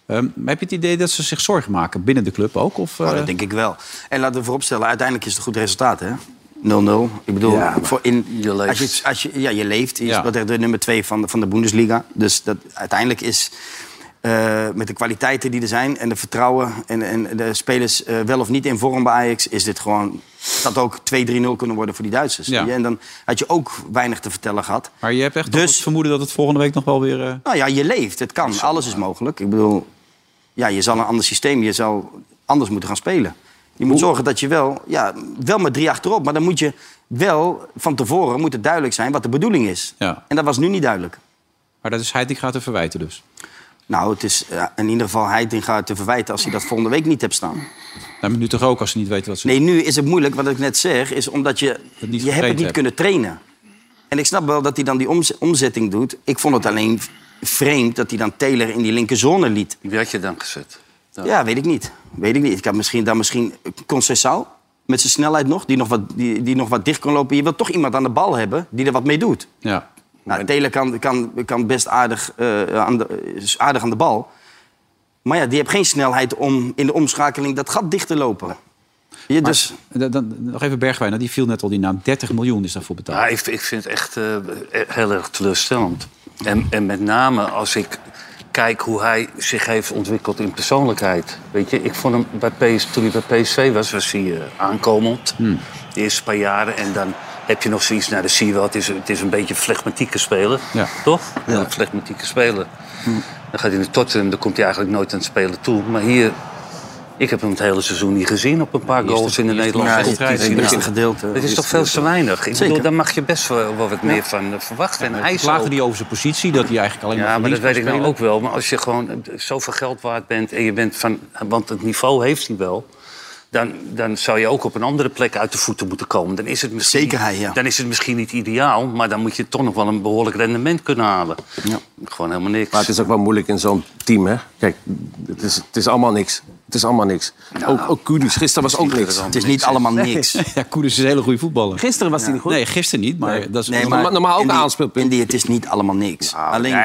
B: Ehm, maar heb je het idee dat ze zich zorgen maken binnen de club ook? Of,
E: Oh,
B: eh,
E: dat denk ik wel. En laten we vooropstellen, uiteindelijk is het een goed resultaat, hè? 0-0. Ik bedoel,
C: Ja, maar
E: voor in,
C: je leeft.
E: Als je, als je, ja, je leeft. Je
B: Ja.
E: speelt tegen de nummer 2 van, de- van de Bundesliga. Dus dat, uiteindelijk is eh, met de kwaliteiten die er zijn... en de vertrouwen en, en de spelers eh, wel of niet in vorm bij Ajax... is dit gewoon... dat ook 2-3-0 kunnen worden voor die Duitsers.
B: Ja.
E: En dan had je ook weinig te vertellen gehad.
B: maar je hebt echt
E: Dus-
B: dus... het vermoeden dat het volgende week nog wel weer... eh,
E: Nou ja, je leeft. Het kan. Alles is mogelijk. Ik bedoel, ja, je zal een ander systeem, je zal anders moeten gaan spelen. Je moet zorgen dat je wel, ja, wel met drie achterop, maar dan moet je wel van tevoren moet het duidelijk zijn wat de bedoeling is.
B: Ja.
E: En dat was nu niet duidelijk.
B: Maar dat is Heitinga te verwijten dus.
E: Nou, het is eh, in ieder geval Heitinga te verwijten als hij dat volgende week niet hebt staan.
B: Nou, maar nu toch ook als ze niet weten wat ze
E: Nee, nu is het moeilijk, wat ik net zeg, is omdat je,
B: niet
E: je hebt
B: getraind
E: het niet
B: hebt.
E: kunnen trainen. En ik snap wel dat hij dan die omz- omzetting doet. Ik vond het alleen vreemd dat hij dan Taylor in die linkerzone liet.
C: Wie had je dan gezet?
E: Ja, weet ik niet. Weet ik niet. Ik had misschien, dan misschien Concessao met zijn snelheid nog, die nog, wat, die, die nog wat dicht kon lopen. Je wilt toch iemand aan de bal hebben die er wat mee doet.
B: Ja.
E: Nou, Telen kan, kan, kan best aardig, eh, aan de, is aardig aan de bal. Maar ja, die heeft geen snelheid om in de omschakeling dat gat dicht te lopen. Je, dus,
B: Dan, dan- nog even Bergwijn, die viel net al die naam. 30 miljoen is daarvoor betaald.
C: Ja, ik, ik vind het echt eh, heel erg teleurstellend. En, en met name als ik kijk hoe hij zich heeft ontwikkeld in persoonlijkheid. Weet je, ik vond hem bij PS, toen hij bij PSV was, was hij eh, aankomend. De eerste paar jaren. En dan heb je nog zoiets, nou dan zie je wel, het is, het is een beetje een flegmatieke speler.
B: Ja.
C: Toch? Een flegmatieke speler. Dan gaat hij naar Tottenham, dan komt hij eigenlijk nooit aan het spelen toe. Maar hier, ik heb hem het hele seizoen niet gezien op een paar goals in de Nederlandse
E: ja,
C: competitie.
E: het
C: Nou,
E: eerste gedeelte.
C: het is toch veel te weinig? Ik bedoel, daar mag je best wel wel wat meer van eh, verwachten. En hij is
B: Klaagde
C: ook-
B: die over zijn positie, dat hij eigenlijk alleen maar
C: Ja, maar dat
B: verlies
C: weet
B: kan
C: ik nou
B: spelen?
C: ook wel. Maar als je gewoon eh, zoveel geld waard bent en je bent van... eh, Want het niveau heeft hij wel. Dan, dan zou je ook op een andere plek uit de voeten moeten komen. Dan is, het misschien,
E: Zeker hij, ja.
C: dan is het misschien niet ideaal, maar dan moet je toch nog wel een behoorlijk rendement kunnen halen. Gewoon helemaal niks.
D: Maar het is ook wel moeilijk in zo'n team, hè? Kijk, het is, het is allemaal niks. Het is allemaal niks.
E: Nou.
D: ook ook Kudus, gisteren was ook niks.
E: het is niet allemaal
C: [laughs]
E: niks.
B: Ja, Koeders is een hele goede voetballer.
D: Gisteren was hij niet goed.
B: Nee, gisteren niet, maar dat is...
E: Nee,
D: Normaal- normaal ook
E: Andy-
D: een aanspeelpunt.
E: Andy, het is niet allemaal niks. Alleen,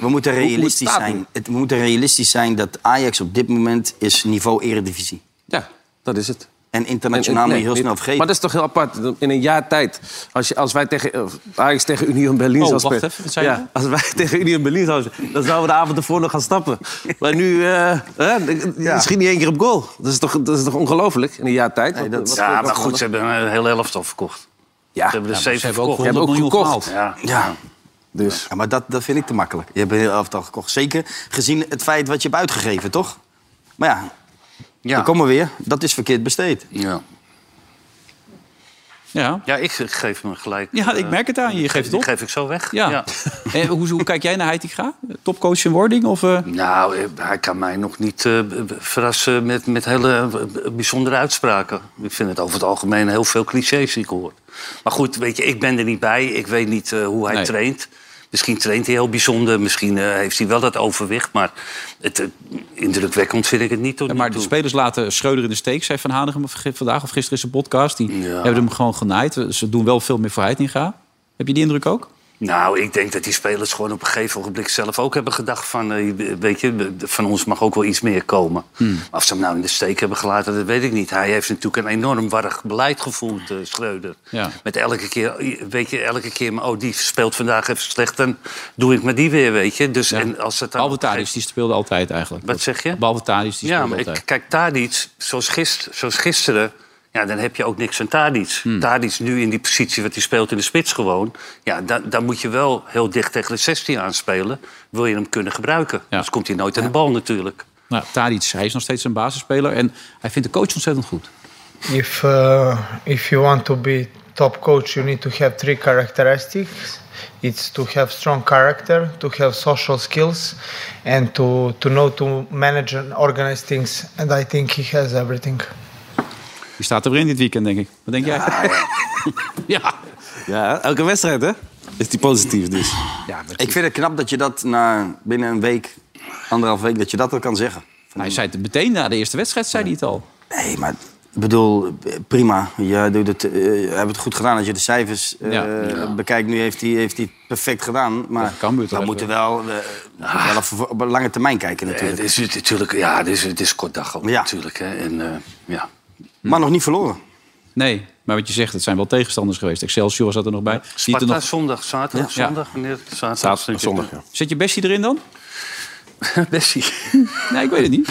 E: we moeten realistisch
D: staat
E: zijn.
D: nu?
E: Het, we moeten realistisch zijn dat Ajax op dit moment is niveau eredivisie.
D: Ja, dat is het.
E: En
D: En- en-
E: internationaal moet
D: nee,
E: je heel
D: niet.
E: snel vergeten.
D: Maar dat is toch heel apart. In een jaar tijd, als, je, als wij tegen, eh, Ajax tegen Union Berlin
B: Oh,
D: zouden
B: wacht
D: spelen...
B: even, wat zei je?
D: ja, als wij [laughs] tegen Union Berlin zouden spelen, dan zouden we de avond ervoor nog gaan stappen. Maar nu, eh, hè, misschien niet één keer op goal. Dat is toch, dat is toch ongelooflijk in een jaar tijd?
E: dat-
D: Wat- wat-
C: ja,
D: wat-
C: maar goed, ze hebben een heel elftal verkocht.
D: Ja,
C: ze hebben er
D: ja,
C: zeven
B: Ze hebben ook
C: verkocht.
B: 100 miljoen
D: gekocht.
B: gehaald.
C: Ja.
E: ja.
D: Dus
E: Ja, maar dat, dat vind ik te makkelijk. Je hebt een heel elftal gekocht. Zeker gezien het feit wat je hebt uitgegeven, toch? Maar ja,
C: Ja.
E: dan komen we weer. Dat is verkeerd besteed.
C: ja.
B: Ja.
C: Ja, ik geef me gelijk.
B: ja, ik
C: eh,
B: merk het aan je. Je geeft het
C: Die
B: op.
C: geef ik zo weg.
B: Ja. [laughs] Eh, hoe, hoe kijk jij naar Heitinga? Topcoach in wording? Of, eh?
C: Nou, eh, hij kan mij nog niet eh, b- b- verrassen met, met hele eh, b- bijzondere uitspraken. Ik vind het over het algemeen heel veel clichés die ik hoor. Maar goed, weet je, ik ben er niet bij. Ik weet niet eh, hoe hij
B: Nee.
C: traint. Misschien traint hij heel bijzonder. Misschien eh, heeft hij wel dat overwicht. Maar het, eh, indrukwekkend vind ik het niet tot
B: Ja, maar
C: nu
B: de
C: toe.
B: spelers laten Schreuder in de steek, zei Van Hanegem v- vandaag of gisteren in zijn podcast. Die hebben hem gewoon genaaid. Ze doen wel veel meer voor Heitinga. Heb je die indruk ook?
C: Nou, ik denk dat die spelers gewoon op een gegeven ogenblik zelf ook hebben gedacht van... eh, weet je, van ons mag ook wel iets meer komen. Maar of ze hem nou in de steek hebben gelaten, dat weet ik niet. Hij heeft natuurlijk een enorm warrig beleid gevoerd, eh, Schreuder.
B: Ja.
C: Met elke keer, eh, weet je, elke keer... maar, Oh, die speelt vandaag even slecht, dan doe ik maar die weer, weet je. Dus, en als het dan op een
B: Balbetarius, die speelde altijd eigenlijk.
C: Wat zeg je?
B: Balbetarius, die
C: ja,
B: speelde
C: maar ik-
B: altijd.
C: kijk, Tadic, zoals, gisteren, zoals gisteren... Ja, dan heb je ook niks aan Tadic. Tadic nu in die positie wat hij speelt in de spits gewoon... Ja, dan, dan moet je wel heel dicht tegen de 16 aanspelen. Wil je hem kunnen gebruiken.
B: Ja.
C: Anders komt hij nooit aan de bal natuurlijk.
B: Nou, Tadic, hij is nog steeds een basisspeler. En hij vindt de coach ontzettend goed.
F: if uh, if you want to be top coach you need to have three characteristics it's to have strong character to have social skills and to to know to manage and organize things and i think he has everything
B: Die staat er weer in dit weekend, denk ik. Wat denk jij? [laughs] ja.
D: ja, elke wedstrijd, hè? Is die positief [laughs] dus.
E: Ik vind het knap dat je dat na binnen een week, anderhalf week, dat je dat al kan zeggen.
B: Hij zei het meteen na de eerste wedstrijd, zei hij het al.
E: Nee, maar ik bedoel, prima. Je doet het, eh, je hebt het goed gedaan als je de cijfers eh,
B: Ja.
E: bekijkt. Nu heeft hij, heeft hij het perfect gedaan. Maar
B: Tegen Cambuur toch
E: we
B: even.
E: moeten wel, eh, wel even op een lange termijn kijken
C: Eh, Het
E: natuurlijk.
C: is het- natuurlijk, ja, het is, het is kort dag ook
E: Ja.
C: natuurlijk. Hè. En, eh, ja.
E: Maar nog niet verloren.
B: Nee, maar wat je zegt, het zijn wel tegenstanders geweest. Excelsior zat er nog bij. Die
C: Sparta
B: er nog...
C: zondag, zaterdag,
B: Ja.
C: zondag. Wanneer? Zaterdag,
D: Zaterdag, zondag, ja.
B: Zet je Bessie erin dan?
C: [laughs] Bessie.
B: Nee, ik weet het niet.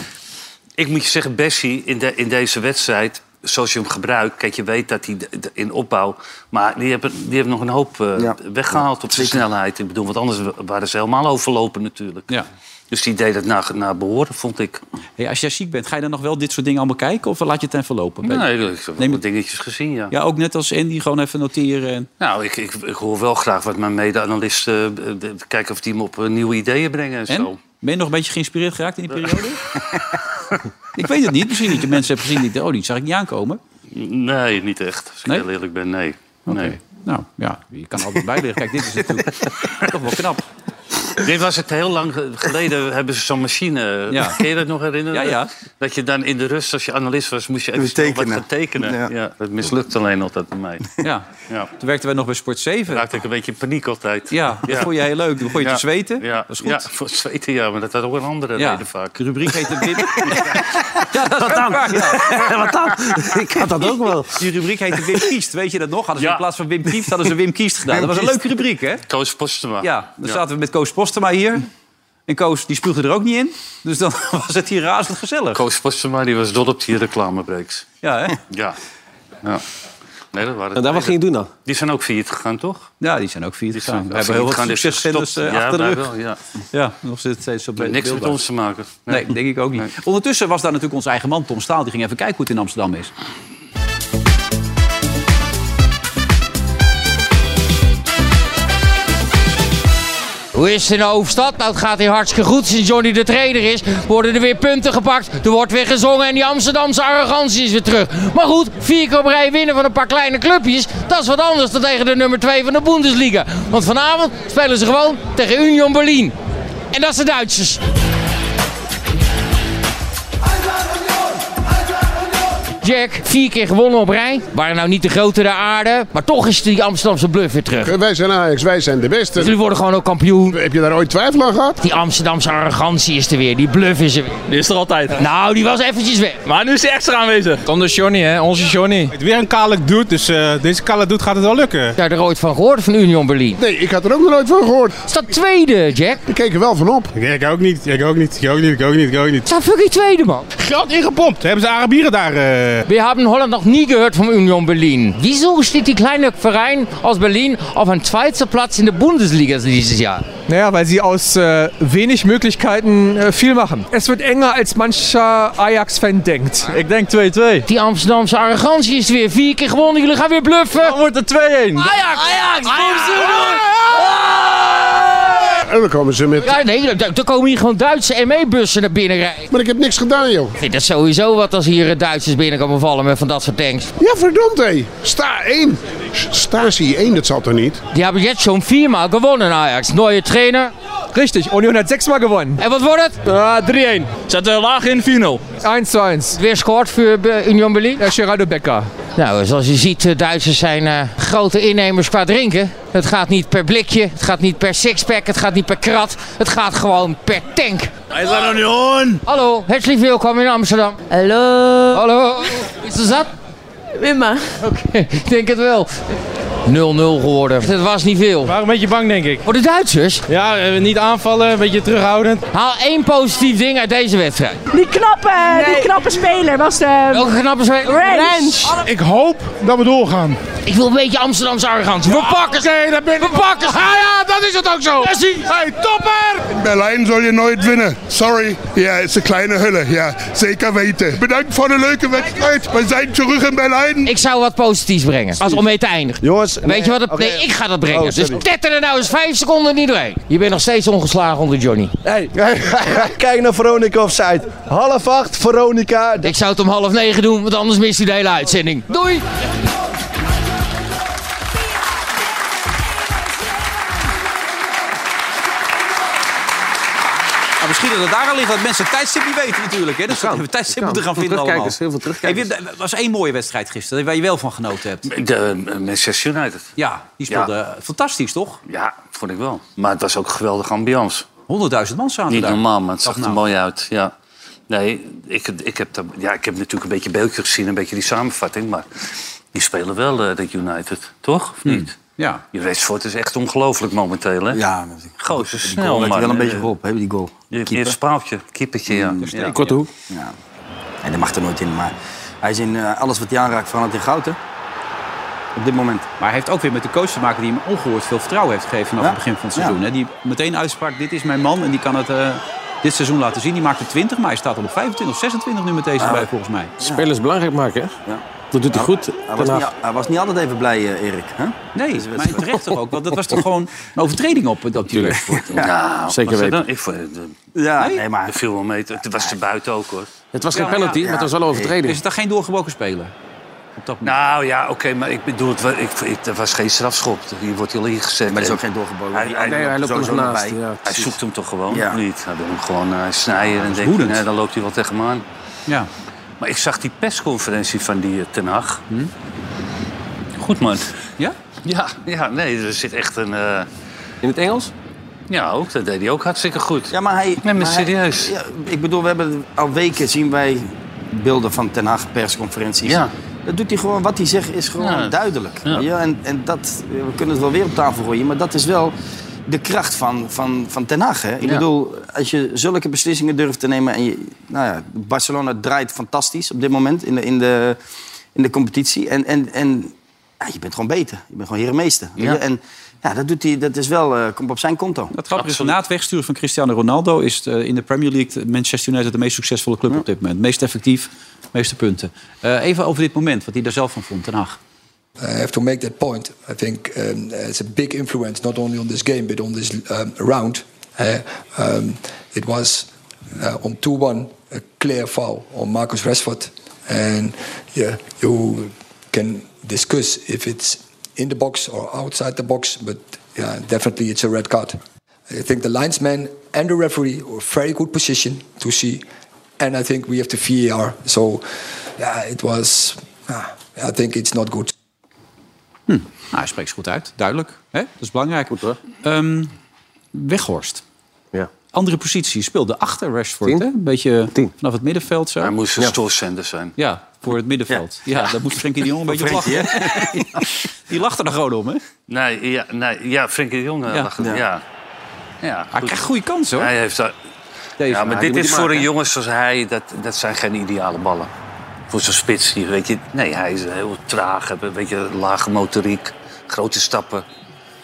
C: Ik moet je zeggen, Bessie, in, de, in deze wedstrijd, zoals je hem gebruikt... Kijk, je weet dat hij de- de- in opbouw... Maar die hebben, die hebben nog een hoop eh,
E: Ja.
C: weggehaald op zijn snelheid. Ik bedoel, want anders waren ze helemaal overlopen natuurlijk.
B: Ja.
C: Dus die deed het naar, naar behoren, vond ik.
B: Hey, als jij ziek bent, ga je dan nog wel dit soort dingen allemaal kijken? Of laat je het even lopen?
C: Nee, ik heb wel
B: Neem-
C: wat dingetjes gezien, ja.
B: Ja, ook net als Andy, gewoon even noteren. En...
C: Nou, ik, ik, ik hoor wel graag wat mijn mede-analisten... eh, de- kijken of die hem op eh, nieuwe ideeën brengen en,
B: en?
C: zo.
B: Ben je nog een beetje geïnspireerd geraakt in die periode? [laughs] ik weet het niet. Misschien dat je mensen hebt gezien die denken, oh, die zag ik niet aankomen.
C: Nee, niet echt. Als ik
B: Nee?
C: heel eerlijk ben, nee.
B: Oké.
C: nee. [laughs]
B: Nou, ja, je kan altijd bijleggen. Kijk, dit is natuurlijk toch wel knap.
C: Dit was het heel lang ge- geleden, hebben ze zo'n machine.
B: Ja.
C: Kun je dat nog herinneren?
B: Ja, ja.
C: Dat je dan in de rust, als je analist was, moest je even
E: Moest
C: snel wat
E: tekenen.
C: gaan tekenen. Ja.
E: Ja.
C: dat mislukt alleen altijd bij [laughs] mij.
B: Ja.
C: Ja.
B: Toen werkten wij nog bij Sport 7.
C: Dan raakte ik een beetje in paniek altijd.
B: Ja, dat vond je heel leuk. Toen begon je
C: Ja.
B: te zweten.
C: Ja.
B: Dat is goed.
C: Ja, voor het zweten, ja. Maar dat had ook een andere
B: Ja.
C: reden vaak.
B: De rubriek heette [laughs] Binnen. ja, dat is ook waar, ja.
D: Wat dan? [laughs] Ik had dat ook wel.
B: Die rubriek heette Wim Kiest. Weet je dat nog? Hadden ze
C: Ja.
B: in plaats van Wim Kiest, hadden ze Wim Kiest gedaan. dat was een leuke rubriek, hè?
C: Koos Postema.
B: Ja, dan zaten we met Koos Postema hier. En Koos, die spuugde er ook niet in. Dus dan [laughs] was het hier razend gezellig.
C: Koos Postema die was dol op die reclamebreaks.
B: Ja, hè?
C: Ja. ja. Nee, dat waren
D: En daar wat ging je doen dan?
C: Die zijn ook failliet gegaan, toch?
B: Nou, ja, die zijn ook vier
C: Die
B: gegaan.
C: zijn
B: We hebben heel
C: failliet
B: wat
C: gegaan, dus
B: succesgezenders
C: gestopt.
B: eh,
C: Ja,
B: achter de
C: wij
B: rug.
C: wel, ja.
B: Ja, nog steeds op
C: Niks met
B: beeldbaar.
C: ons te maken.
B: Nee, denk ik ook niet.
C: Nee.
B: Ondertussen was daar natuurlijk onze eigen man, Tom Staal. Die ging even kijken hoe het in Amsterdam is.
G: Hoe is het in de hoofdstad? Nou, het gaat hier hartstikke goed. Sinds Johnny de trainer is, worden er weer punten gepakt. Er wordt weer gezongen en die Amsterdamse arrogantie is weer terug. Maar goed, vier keer op rij winnen van een paar kleine clubjes, dat is wat anders dan tegen de nummer 2 van de Bundesliga. Want vanavond spelen ze gewoon tegen Union Berlin. En dat zijn Duitsers. Jack, vier keer gewonnen op rij. Waren nou niet de grote der aarde, maar toch is die Amsterdamse bluff weer terug.
H: Eh, Wij zijn Ajax, wij zijn de beste.
G: Jullie worden gewoon ook kampioen.
H: Heb je daar ooit twijfel aan gehad?
G: Die Amsterdamse arrogantie is er weer, die bluff is er weer.
I: Die is er altijd.
G: Nou, die was eventjes weg.
I: Maar nu is hij extra aanwezig. Onder dus, Johnny, hè? Onze Johnny.
J: Weer een kale doet, dus eh, deze kale doet gaat het wel lukken.
G: Daar er ooit van gehoord van Union Berlin.
H: Nee, ik had er ook nog nooit van gehoord.
G: Staat tweede, Jack.
H: Ik keek er wel van op.
J: Nee, ik ook niet, ik ook niet, ik ook niet, ik ook niet, ik ook niet.
G: Staat fucking tweede, man.
J: Geld ingepompt, hebben ze Arabieren daar. eh.
G: Wir haben Holland noch nie gehört vom Union Berlin. Wieso steht die kleine Verein aus Berlin auf einem zweiten Platz in der Bundesliga dieses Jahr?
I: Naja, weil sie aus äh, wenig Möglichkeiten äh, viel machen. Es wird enger, als mancher Ajax-Fan denkt. Ich denke 2-2.
G: Die Amsterdamse Arrogantie is weer vier keer gewonnen. Jullie gaan weer bluffen.
I: Wordt er 2-1.
G: Ajax! Ajax!
H: En dan komen ze met...
G: Ja, nee, er er komen hier gewoon Duitse ME-bussen naar binnen rijden.
H: Maar ik heb niks gedaan, joh.
G: Ik vind dat sowieso wat als hier eh, Duitsers binnen komen vallen met van dat soort tanks.
H: Ja, verdomd, hé. Sta 1. Stasi 1, dat zal toch niet?
G: Die hebben jetzt schon viermal gewonnen, Ajax. Neue Trainer.
I: Richtig, Union hat sechsmal gewonnen.
G: En wat wordt het?
I: Ah, 3-1. Zaten laag in, 4-0. 1-1.
G: Weer scoort voor eh, Union Berlin.
I: Ja, Gerardo Becker.
G: Nou, zoals je ziet, de Duitsers zijn eh, grote innemers qua drinken. Het gaat niet per blikje, het gaat niet per sixpack, het gaat niet per krat. Het gaat gewoon per tank. Hallo, herzlich welkom in Amsterdam.
K: Hallo.
G: Hallo, is dat?
K: Wimma.
G: Ik denk het wel. 0-0 geworden. Dat was niet veel.
I: Waren een beetje bang, denk ik.
G: Voor de Duitsers,
I: Ja,
J: eh,
I: niet aanvallen, een beetje terughoudend.
G: haal één positief ding uit deze wedstrijd.
K: Die knappe, eh, die knappe speler was eh, de...
G: Welke knappe zijn?
K: Range.
J: Ik hoop dat we doorgaan.
G: Ik wil een beetje Amsterdamse arrogantie. We pakken ze!
J: Nee, dat ben
G: We pakken ze!
J: Ah ja, dat is het ook zo.
G: Messi!
J: Hey, topper!
H: Berlijn zal je nooit winnen. Sorry. Ja, het is een kleine hulle. Ja, zeker weten. Bedankt voor de leuke wedstrijd. We zijn terug in Berlijn.
G: Ik zou wat positiefs brengen, als om mee te eindigen.
H: Jongens,
G: Weet je wat het... Nee, ik ga dat brengen.
H: Oh,
G: dus
H: sorry.
G: tetter er nou eens vijf seconden niet doorheen. Je bent nog steeds ongeslagen onder Johnny.
H: Hey, [laughs] kijk naar Veronica offside. Half acht, Veronica.
G: Ik zou het om half negen doen, want anders mist hij de hele uitzending. Doei!
B: Maar Nou, misschien dat het daar aan ligt dat mensen het tijdstip niet weten natuurlijk. Hè? Dus dat we tijdstip
D: kan.
B: moeten gaan vinden allemaal.
D: Terugkijkers, heel veel terugkijkers.
B: Hey, Wim, er was één mooie wedstrijd gisteren waar je wel van genoten hebt.
C: De eh, Manchester United.
B: Ja, die speelde fantastisch, toch?
C: Ja, vond ik wel. Maar het was ook geweldig ambiance.
B: 100.000 man zaten
C: Niet
B: daar.
C: normaal, maar het zag er
B: nou.
C: mooi uit. Ja. Nee, ik, ik, heb daar- ja, ik heb natuurlijk een beetje beeldje gezien, een beetje die samenvatting. Maar die spelen wel, eh, dat United, toch? Of niet?
B: Ja.
C: Je Rashford is echt ongelooflijk momenteel, hè?
E: Hmm. Ja,
C: Gozer,
E: die
C: snel,
E: goal
C: man.
E: lijkt wel een
C: Eh,
E: beetje op, hè, die goal.
C: je- je
E: Keeper. Hmm.
C: spaaltje, keepertje, ja. ja.
D: Korte hoek.
E: Ja. En dat mag er nooit in, maar hij is in eh, alles wat hij aanraakt veranderd in goud, hè? Op dit moment.
B: Maar hij heeft ook weer met de coach te maken die hem ongehoord veel vertrouwen heeft gegeven vanaf
E: Ja.
B: het begin van het
E: Ja.
B: seizoen. Hè? Die meteen uitsprak, dit is mijn man en die kan het eh, dit seizoen laten zien. Die maakte 20, maar hij staat al op 25 of 26 nu met deze
D: Ah.
B: erbij volgens mij.
D: Spelers belangrijk maken, hè?
E: Ja.
D: Dat doet hij goed.
E: Hij was,
D: Ten
E: niet,
D: Hag.
E: hij was niet altijd even blij, eh, Erik. Hè?
B: Nee, maar terecht toch ook, want dat was
D: [laughs]
B: toch gewoon een overtreding op, op die Rashford.
C: Nou,
D: Zeker
C: was dat
D: weten.
C: dan? Ik vond het, eh,
E: Ja, nee, maar
C: er viel wel mee. Het was er buiten ook, hoor.
D: Het was geen
B: Ja, maar ja.
D: penalty, maar het was wel een
B: Is
D: overtreding.
B: het dan geen doorgebroken speler?
C: Nou ja, oké, maar ik bedoel, het, wa- ik, ik, er was geen strafschop. Hier wordt hij al ingezet.
E: Maar er is
C: En
E: ook geen doorgebogen.
C: Hij, hij,
E: Nee, hij loopt er
C: sowieso
E: nog
C: nog
E: naast,
C: bij.
E: ja,
C: hij
E: precies.
C: zoekt hem toch gewoon,
E: Ja.
C: of niet? Hij doet hem gewoon eh, snijden en denkt,
B: woedend.
C: nee, dan loopt hij wel tegen hem aan.
B: Ja.
C: Maar ik zag die persconferentie van die eh, Ten Hag. Goed, man.
B: Hm? Ja?
C: Ja, ja, nee, er zit echt een... eh,
D: In het Engels?
C: Ja, ook. Dat deed hij ook hartstikke goed.
E: Ja, maar hij...
C: Nee, maar
E: maar hij-
C: serieus.
E: ja, ik bedoel, we hebben al weken zien wij beelden van Ten Haag persconferenties.
C: Ja.
E: Dat doet hij gewoon, wat hij zegt is gewoon
C: Ja.
E: duidelijk.
C: Ja.
E: Ja. en, en dat, we kunnen het wel weer op tafel gooien, maar dat is wel de kracht van, van, van Ten Haag. Hè? Ik
C: Ja.
E: bedoel, als je zulke beslissingen durft te nemen en je, nou ja, Barcelona draait fantastisch op dit moment in de, in de, in de competitie. En, en, en ja, je bent gewoon beter. Je bent gewoon herenmeester. weet
C: Ja.
E: je? En ja, dat doet hij, dat is wel, eh, komt op zijn konto.
B: Het grappige is, na het wegsturen van Cristiano Ronaldo... is het, eh, in de Premier League Manchester United de meest succesvolle club op dit moment. Meest effectief, meeste punten. Eh, even over dit moment, wat hij daar zelf van vond, Den Haag.
L: I have to make that point. I think um, it's a big influence not only on this game but on this um, round. Uh, um, it was uh, on 2 1 a clear foul on Marcus Rashford, and yeah, you can discuss if it's in the box or outside the box, but yeah, definitely it's a red card. I think the linesman and the referee were very good position to see, and I think we have the VAR. So yeah, it was. ah, I think it's not good.
B: Nou, hij spreekt ze goed uit, duidelijk. Hè? Dat is belangrijk. Goed, hoor. Weghorst.
D: Ja.
B: Andere positie, speelde achter Rashford. Hè? Een beetje vanaf het middenveld zo.
C: Hij moest een stoorzender zijn.
B: Ja, voor het middenveld. Ja, daar moet Frenkie de Jong een beetje op lachen.
C: Frenkie,
B: Ja. [laughs] Die lacht er gewoon om, hè?
C: Nee, ja, nee, ja Frenkie de Jong. eh,
B: Ja.
C: lag er- Ja. Ja.
B: Hij
C: goed.
B: krijgt goede kans, hoor.
C: Hij heeft daar...
B: Deze.
C: Ja, maar
B: die
C: dit
B: moet
C: is
B: hij
C: voor
B: maken.
C: een jongen zoals hij, dat, dat zijn geen ideale ballen. Voor zo'n spits hier, weet je. Nee, hij is heel traag, heeft een beetje lage motoriek, grote stappen.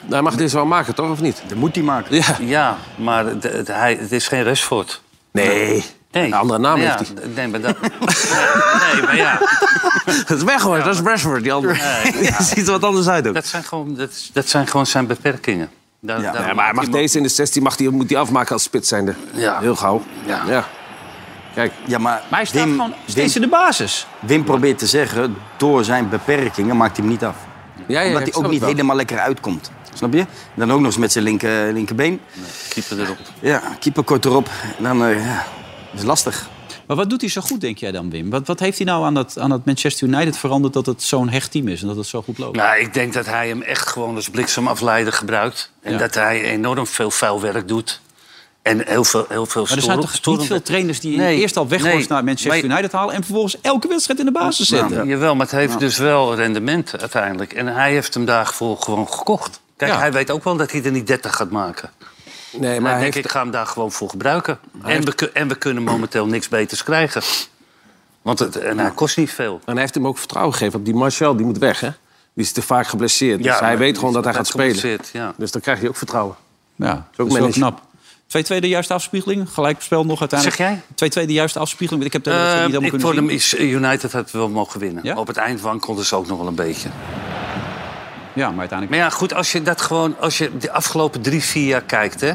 D: Hij mag dit wel maken, toch? Of niet?
E: Dat moet hij maken.
D: Ja.
C: Ja, maar het, het- hij, het is geen Rashford.
D: Nee.
C: Nee.
D: Een andere naam
C: Ja,
D: heeft hij.
C: Nee, maar dat... [laughs] nee, maar ja.
D: Dat is weg hoor, dat is Rashford. Die andere...
C: Nee,
D: Die ziet er wat anders uit ook.
C: dat, zijn gewoon, dat, is- dat zijn gewoon zijn beperkingen. Daar- daar-
D: Nee, maar hij mag
C: die-
D: deze in de 16 mag die, moet hij afmaken als spits zijnde.
C: Ja.
D: Heel gauw.
C: Ja.
D: Ja. Kijk,
E: Ja, maar,
B: Maar hij staat
E: Wim-
B: gewoon
E: Wim-
B: steeds in de basis.
E: Wim probeert te zeggen, door zijn beperkingen maakt hij hem niet af.
D: ja, ja,
E: Omdat hij
D: ik snap
E: ook
D: het
E: niet
D: wel.
E: helemaal lekker uitkomt. Snap je? Dan ook nog eens met zijn linker, linkerbeen.
C: keeper erop.
E: Ja, keeper kort erop. Dan eh, ja, is lastig.
B: Maar wat doet hij zo goed, denk jij dan, Wim? Wat, wat heeft hij nou aan dat, aan dat Manchester United veranderd... dat het zo'n hecht team is en dat het zo goed loopt?
C: Nou, ik denk dat hij hem echt gewoon als bliksemafleider gebruikt. En
B: Ja.
C: dat hij enorm veel vuil werk doet. En heel veel, heel veel
B: maar er zijn
C: storen-
B: toch
C: storend-
B: niet veel trainers die
C: Nee,
B: eerst al Weghorst
C: nee,
B: naar Manchester
C: maar-
B: United halen... en vervolgens elke wedstrijd in de basis
C: Nou,
B: zetten.
C: jawel, maar het heeft dus wel rendement uiteindelijk. En hij heeft hem daarvoor gewoon gekocht. Kijk,
B: Ja.
C: hij weet ook wel dat hij er niet 30 gaat maken.
D: Nee, maar
C: Maar
D: hij
C: denk,
D: heeft...
C: ik ga hem daar gewoon voor gebruiken. En we, kun- en we kunnen momenteel niks beters krijgen. Want het, en hij kost niet veel.
D: En hij heeft hem ook vertrouwen gegeven. op Die Marcel, die moet weg, hè? Die is te vaak geblesseerd. dus hij
C: maar-
D: weet gewoon dat hij gaat spelen.
C: compenseert, Ja.
D: Dus dan krijg je ook vertrouwen.
B: Ja, dat is wel
D: manager.
B: knap. 2-2 de juiste afspiegeling. Gelijk spel nog uiteindelijk.
C: Zeg
B: 2-2 de juiste afspiegeling. want Ik heb de wedstrijd
C: Ehm,
B: niet
C: ik
B: helemaal
C: vond hem
B: kunnen zien.
C: is, United had wel mogen winnen.
B: Ja?
C: Op het eind wankelden ze ook nog wel een beetje.
B: Ja, maar uiteindelijk...
C: Maar ja, goed, als je dat gewoon, als je de afgelopen drie, vier jaar kijkt, hè.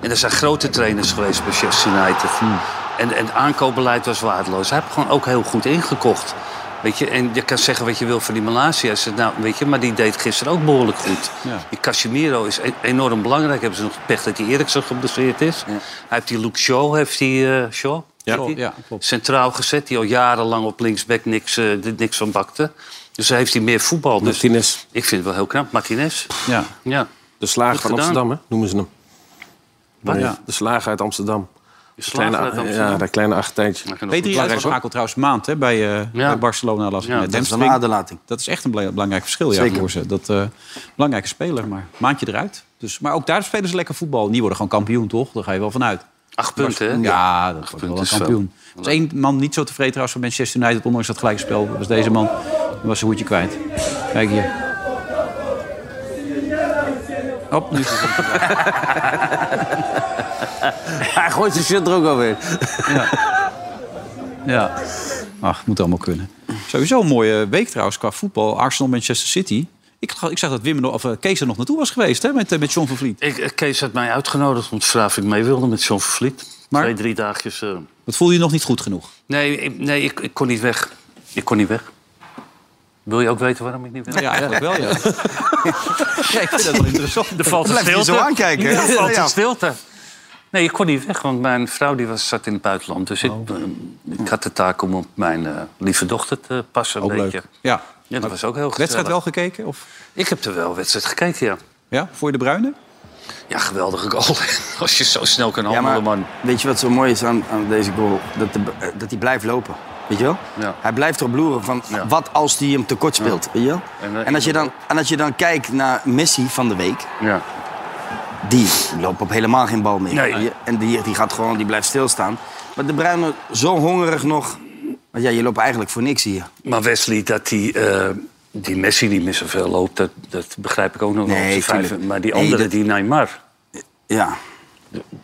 C: En er zijn grote trainers geweest bij Manchester United.
B: Hmm.
C: En, en het aankoopbeleid was waardeloos. Hij heeft gewoon ook heel goed ingekocht. Weet je, en je kan zeggen wat je wil van die Malasia. Nou, weet je, maar die deed gisteren ook behoorlijk goed.
B: Ja.
C: Die Casemiro is e- enorm belangrijk. Hebben ze nog pech dat die Eriksen geblesseerd is. Hij heeft die Luke Shaw, heeft die eh, Shaw? Heeft die?
B: ja, klopt.
C: Centraal gezet, die al jarenlang op linksback niks, eh, dit- niks van bakte. Dus hij heeft hij meer voetbal. Dus
D: Martinez,
C: ik vind het wel heel knap. Martinez.
B: Ja.
C: Ja.
D: de slager
C: Goed
D: van
C: gedaan.
D: Amsterdam, hè? noemen ze hem.
C: Wat?
D: Ja, de slager uit Amsterdam.
C: De slager uit Amsterdam.
D: Ja, dat kleine achtertuintje.
C: Maak er nog
B: P3
C: een-
B: uitgeschakeld trouwens maand hè, bij, eh,
C: Ja.
B: bij Barcelona. Las ik
C: Ja,
B: net.
E: Dat is een
B: Hamstring.
E: aderlating.
B: Dat is echt een bela- belangrijk verschil ja,
E: Zeker.
B: voor ze. Dat, eh, belangrijke speler, maar maandje eruit. Dus, maar ook daar spelen ze lekker voetbal. En die worden gewoon kampioen, toch? Daar ga je wel vanuit.
C: Acht punten, hè?
B: Ja, dat wordt
C: punten
B: wel een
C: is veel.
B: kampioen. Er was één man niet zo tevreden trouwens van Manchester United... ondanks dat gelijke spel. Dat was deze man. Die was zijn hoedje kwijt. Kijk hier. Hop, [laughs] nu is het er.
D: Hij gooit zijn shit er ook alweer.
B: Ja. Ach, moet allemaal kunnen. Sowieso een mooie week trouwens qua voetbal. Arsenal, Manchester City. Ik, ik zag dat Wim nog- of eh, Kees er nog naartoe was geweest hè, met, eh, met John van Vliet.
C: Ik, eh, Kees had mij uitgenodigd om te vragen of ik mee wilde met John Vervliet.
B: Maar?
C: Twee, drie dagjes. eh.
B: Dat voelde je nog niet goed genoeg.
C: Nee, ik, nee ik, ik kon niet weg. Ik kon niet weg. Wil je ook weten waarom ik niet wil?
B: Ja, eigenlijk [laughs] wel, ja. ja, ik vind dat wel interessant.
C: Er valt een
E: Blijf je
C: stilte.
E: zo aankijken, hè?
C: Ja, er valt
E: Ja.
C: een stilte. Nee, ik kon niet weg, want mijn vrouw die was, zat in het buitenland. Dus ik, eh, ik had de taak om op mijn eh, lieve dochter te passen. Een
B: Ook
C: beetje.
B: leuk. Ja.
C: Ja, dat was ook heel gezellig.
B: Wedstrijd wel gekeken? Of?
C: Ik heb er wel wedstrijd gekeken, ja.
B: Ja, voor je de Bruine?
C: Ja, geweldige goal. [laughs] Als je zo snel kan handelen, man.
E: Weet je wat zo mooi is aan, aan deze goal? Dat, de, eh, dat hij blijft lopen. Weet je wel?
C: Ja.
E: Hij blijft erop loeren van wat als hij hem tekort speelt. Weet je wel?
C: En,
E: En,
C: eh,
E: als je dan, en als je dan kijkt naar Messi van de week.
C: Ja.
E: Die loopt op helemaal geen bal meer.
C: Nee.
E: Die- En die, die gaat gewoon, die blijft stilstaan. Maar de Bruyne zo hongerig nog. Want ja, je loopt eigenlijk voor niks hier.
C: Maar Wesley, dat die, eh, die Messi die meer zoveel loopt, dat, dat begrijp ik ook nog
E: Nee,
C: wel. Die
E: tuurlijk.
C: vijf- Maar die
E: Nee,
C: andere,
E: dat-
C: die Neymar.
E: Ja.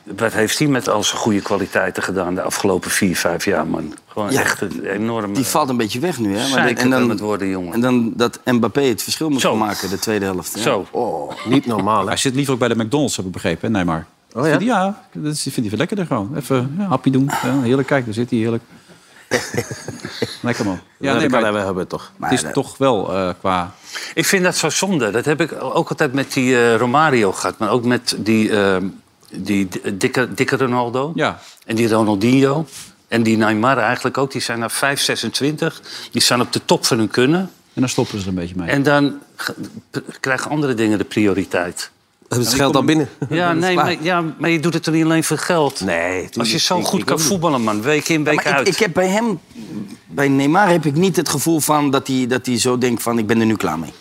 C: Wat heeft hij met al zijn goede kwaliteiten gedaan de afgelopen vier, vijf jaar, man? Gewoon
E: Ja,
C: echt een enorm...
E: Die valt een beetje weg nu, hè?
C: Zeikert
E: en,
C: aan
E: dan,
C: het worden, jongen.
E: en dan dat Mbappé het verschil moet gaan maken, de tweede helft. hè?
C: Zo.
E: Oh,
D: Niet normaal, hè?
B: Hij zit liever ook bij de McDonald's, heb ik begrepen, hè, Neymar? Oh, ja? ja, dat is- vindt hij veel lekkerder gewoon. Even ja, hapje doen. Ja, heerlijk, kijk, daar zit hij, [laughs] heerlijk. Lekker man. Ja, nee, maar
D: we hebben toch.
B: het is
C: Maar, eh,
B: toch wel eh, qua...
C: Ik vind dat zo zonde. Dat heb ik ook altijd met die eh, Romario gehad. Maar ook met die, eh, die di- dikke, dikke Ronaldo.
B: Ja.
C: En die Ronaldinho. En die Neymar eigenlijk ook. Die zijn naar 5, 26. Die staan op de top van hun kunnen.
B: En dan stoppen ze er een beetje mee.
C: En dan ge- p- krijgen andere dingen de prioriteit.
D: Het geld al binnen.
C: [laughs] Ja, nee,
D: klaar.
C: maar, ja, maar je doet het er niet alleen voor geld.
D: Nee,
C: Als je zo
E: ik-
C: goed
E: ik
C: kan
E: ook niet.
C: voetballen, man. Week in, week
E: Maar ik,
C: uit.
E: ik heb bij hem, bij Neymar, heb ik niet het gevoel van dat hij, dat hij zo denkt van ik ben er nu klaar mee.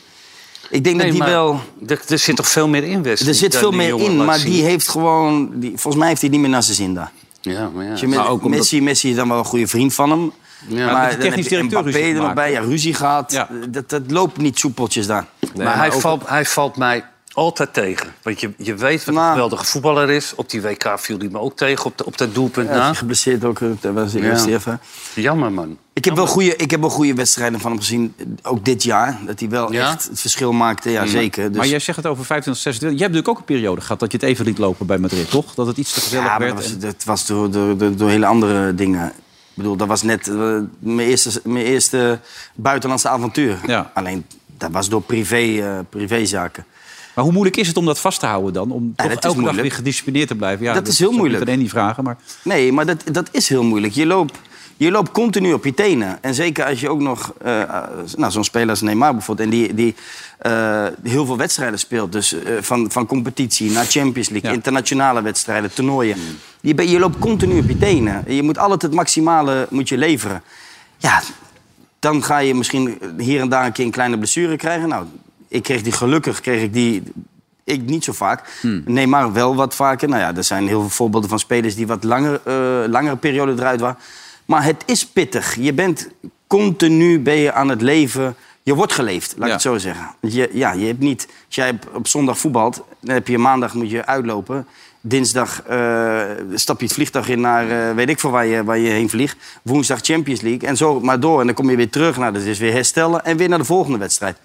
E: Ik denk
C: Nee,
E: dat
C: maar
E: hij wel...
C: Er, er zit toch veel meer in, Wesley?
E: Er zit
C: dan
E: veel
C: die
E: meer
C: jongen
E: in,
C: laat
E: maar
C: zien?
E: die heeft gewoon... Die, volgens mij heeft hij het niet meer naar zijn zin daar.
C: Ja, maar ja.
E: Als je met-
D: Maar ook omdat-
E: Messi, Messi is dan wel een goede vriend van hem.
C: maar
B: met de
E: maar dan
B: technisch
E: heb je
B: directeur
E: Mbappé
B: ruzie
E: er nog
B: gemaakt.
E: bij, ja, ruzie gehad.
B: Ja.
E: Dat, dat loopt niet soepeltjes daar.
C: maar
D: maar
C: hij,
D: ook-
C: valt, hij valt mij altijd tegen. Want je, je weet wat een
E: Nou.
C: geweldige voetballer is. Op die WK viel hij me ook tegen, op, de, op dat doelpunt
E: Ja, is
C: na.
E: hij geblesseerd ook, eh, dat was de eerste
C: Ja.
E: even.
C: Jammer, man.
E: Ik heb, wel goede, ik heb wel goede wedstrijden van hem gezien, eh, ook dit jaar. Dat hij wel
C: Ja? Mm.
E: echt het verschil maakte, ja zeker. Dus,
B: Maar jij zegt het over 25, 26. Jij hebt natuurlijk ook een periode gehad dat je het even liet lopen bij Madrid, toch? Dat het iets te gezellig
E: ja, maar
B: werd. en-
E: dat was, dat was door, door, door, door hele andere dingen. Ik bedoel, dat was net eh, mijn, eerste, mijn eerste buitenlandse avontuur.
B: Ja.
E: Alleen, dat was door privé, eh, privézaken.
B: Maar hoe moeilijk is het om dat vast te houden dan? Om toch
E: dat is
B: elke dag
E: moeilijk.
B: weer gedisciplineerd te blijven? Ja,
E: Dat is heel
B: zou ik
E: moeilijk.
B: niet aan Andy vragen, maar...
E: Nee, maar dat, dat is heel moeilijk. Je loopt, je loopt continu op je tenen. En zeker als je ook nog eh, eh, nou, zo'n speler als Neymar bijvoorbeeld... en die, die eh, heel veel wedstrijden speelt. Dus eh, van, van competitie naar Champions League,
B: Ja.
E: internationale wedstrijden, toernooien. Je, bent- je loopt continu op je tenen. Je moet altijd het maximale moet je leveren. Ja, dan ga je misschien hier en daar een keer een kleine blessure krijgen. Nou, ik kreeg die gelukkig, kreeg ik die... Ik niet zo vaak. Nee, maar wel wat vaker. Nou ja, er zijn heel veel voorbeelden van spelers die wat langer, eh, langere periode eruit waren. Maar het is pittig. Je bent continu ben je aan het leven. Je wordt geleefd,
B: Ja.
E: laat ik het zo zeggen. Want Je, ja, je hebt niet... Als jij op- op zondag voetbalt, dan heb je maandag moet je uitlopen. Dinsdag eh, stap je het vliegtuig in naar eh, weet ik veel waar je, waar je heen vliegt. Woensdag Champions League en zo maar door. En dan kom je weer terug. Nou, dat is weer herstellen en weer naar de volgende wedstrijd.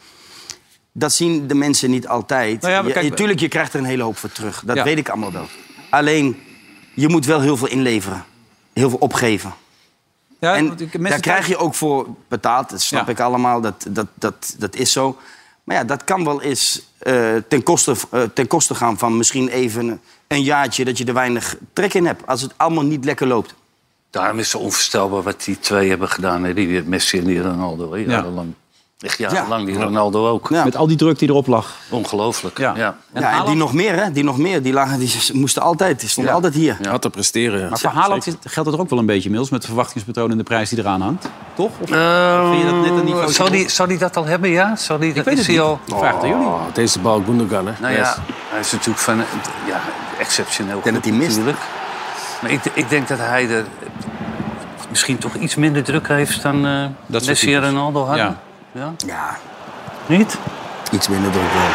E: Dat zien de mensen niet altijd.
B: Nou ja, maar
E: Je-
B: kijk-
E: je- tuurlijk, je krijgt er een hele hoop voor terug. Dat
B: Ja.
E: weet ik allemaal wel. Alleen, je moet wel heel veel inleveren. Heel veel opgeven.
B: Ja,
E: En
B: want ik-
E: daar
B: mensen
E: krijg je ook voor betaald. Dat snap
B: Ja.
E: ik allemaal. Dat, dat, dat, dat is zo. Maar ja, dat kan wel eens eh, ten, koste, eh, ten koste gaan van misschien even een jaartje dat je er weinig trek in hebt. Als het allemaal niet lekker loopt.
C: Daarom is het onvoorstelbaar wat die twee hebben gedaan. Hè? Die Messi en die Ronaldo. hè, Jarenlang. Echt jarenlang, die Ronaldo ook.
E: Ja.
B: Met al die druk die erop lag.
C: Ongelooflijk.
B: Ja.
C: Ja.
E: En, ja, en die nog meer, hè? Die nog meer. Die, lagen, die moesten altijd, die stonden altijd hier.
D: Had te presteren. ja.
B: Maar voor Haaland zit- geldt dat er ook wel een beetje inmiddels... met de verwachtingspatroon en de prijs die eraan hangt. Toch? Of
C: Eh,
B: vind je dat net een niveau...
C: zou, die, zou die dat al hebben, ja? Zou die,
B: Ik weet het
C: is hij
B: niet.
C: al-
B: Ik Vraag het aan jullie.
D: Oh, deze bal Gundogan, hè?
C: Nou
D: Yes.
C: ja, hij is natuurlijk van, ja, exceptioneel goed
E: dat hij mist.
C: natuurlijk. Maar ik, ik denk dat hij er misschien toch iets minder druk heeft dan eh
B: soort
C: Messi en
B: types.
C: Ronaldo hadden.
B: Ja.
C: Ja.
E: Ja,
C: Niet?
E: iets minder druk wel.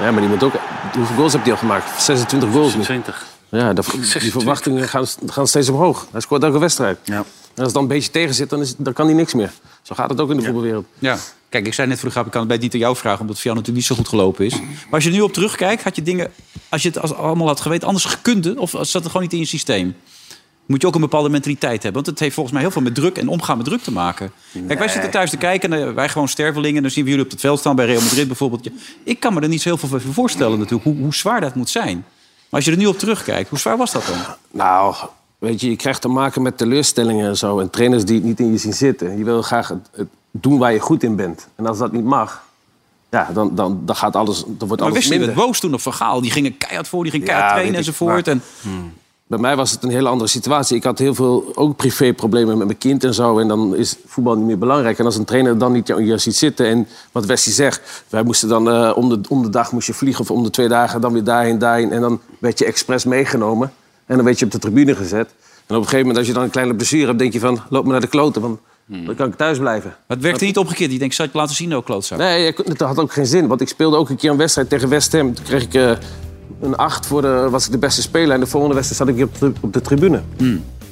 D: Ja, maar die moet ook... Hoeveel goals heeft hij al gemaakt? 26 goals nu.
C: 20.
D: Ja, dat- die verwachtingen gaan, gaan steeds omhoog. Hij scoort elke wedstrijd.
E: Ja.
D: En als het dan een beetje tegen zit, dan, is, dan kan hij niks meer. Zo gaat het ook in de voetbalwereld.
B: Ja. Kijk, ik zei net voor de grap, ik kan het bij niet aan jou vragen... omdat het voor jou natuurlijk niet zo goed gelopen is. Maar als je er nu op terugkijkt, had je dingen... als je het als allemaal had geweten, anders gekund... of zat het gewoon niet in je systeem? moet je ook een bepaalde mentaliteit hebben. Want het heeft volgens mij heel veel met druk en omgaan met druk te maken. Kijk, wij
E: Nee.
B: zitten thuis te kijken, en, eh, wij gewoon stervelingen. Dan zien we jullie op het veld staan bij Real Madrid bijvoorbeeld. Ja, Ik kan me er niet zo heel veel van voorstellen natuurlijk, hoe, hoe zwaar dat moet zijn. Maar als je er nu op terugkijkt, hoe zwaar was dat dan?
D: Nou, weet je, je krijgt te maken met teleurstellingen en zo. En trainers die het niet in je zien zitten. Je wil graag het, het doen waar je goed in bent. En als dat niet mag, ja, dan, dan, dan gaat alles, dan
B: Maar
D: wordt alles
B: wist je
D: minder.
B: dat boos toen op Van Gaal? Die gingen keihard voor, die gingen keihard trainen
D: weet ik,
B: enzovoort.
D: maar-
B: En,
D: Bij mij was het een hele andere situatie. Ik had heel veel ook privéproblemen met mijn kind en zo. En dan is voetbal niet meer belangrijk. En als een trainer dan niet jou jou ziet zitten. En wat Wessie zegt, wij moesten dan eh, om, de, om de dag moest je vliegen of om de twee dagen dan weer daarheen, daarheen. En dan werd je expres meegenomen. En dan werd je op de tribune gezet. En op een gegeven moment, als je dan een kleine blessure hebt, denk je van loop me naar de kloten. Want dan kan ik thuis blijven.
B: het werkte niet opgekeerd. Die denkt, zal je het laten zien ook, klootzak?
D: Nee, ik- dat had ook geen zin. Want ik speelde ook een keer een wedstrijd tegen West Ham. Toen kreeg ik eh, een 8 voor de, was ik de beste speler. En de volgende wedstrijd zat ik op de, op de tribune.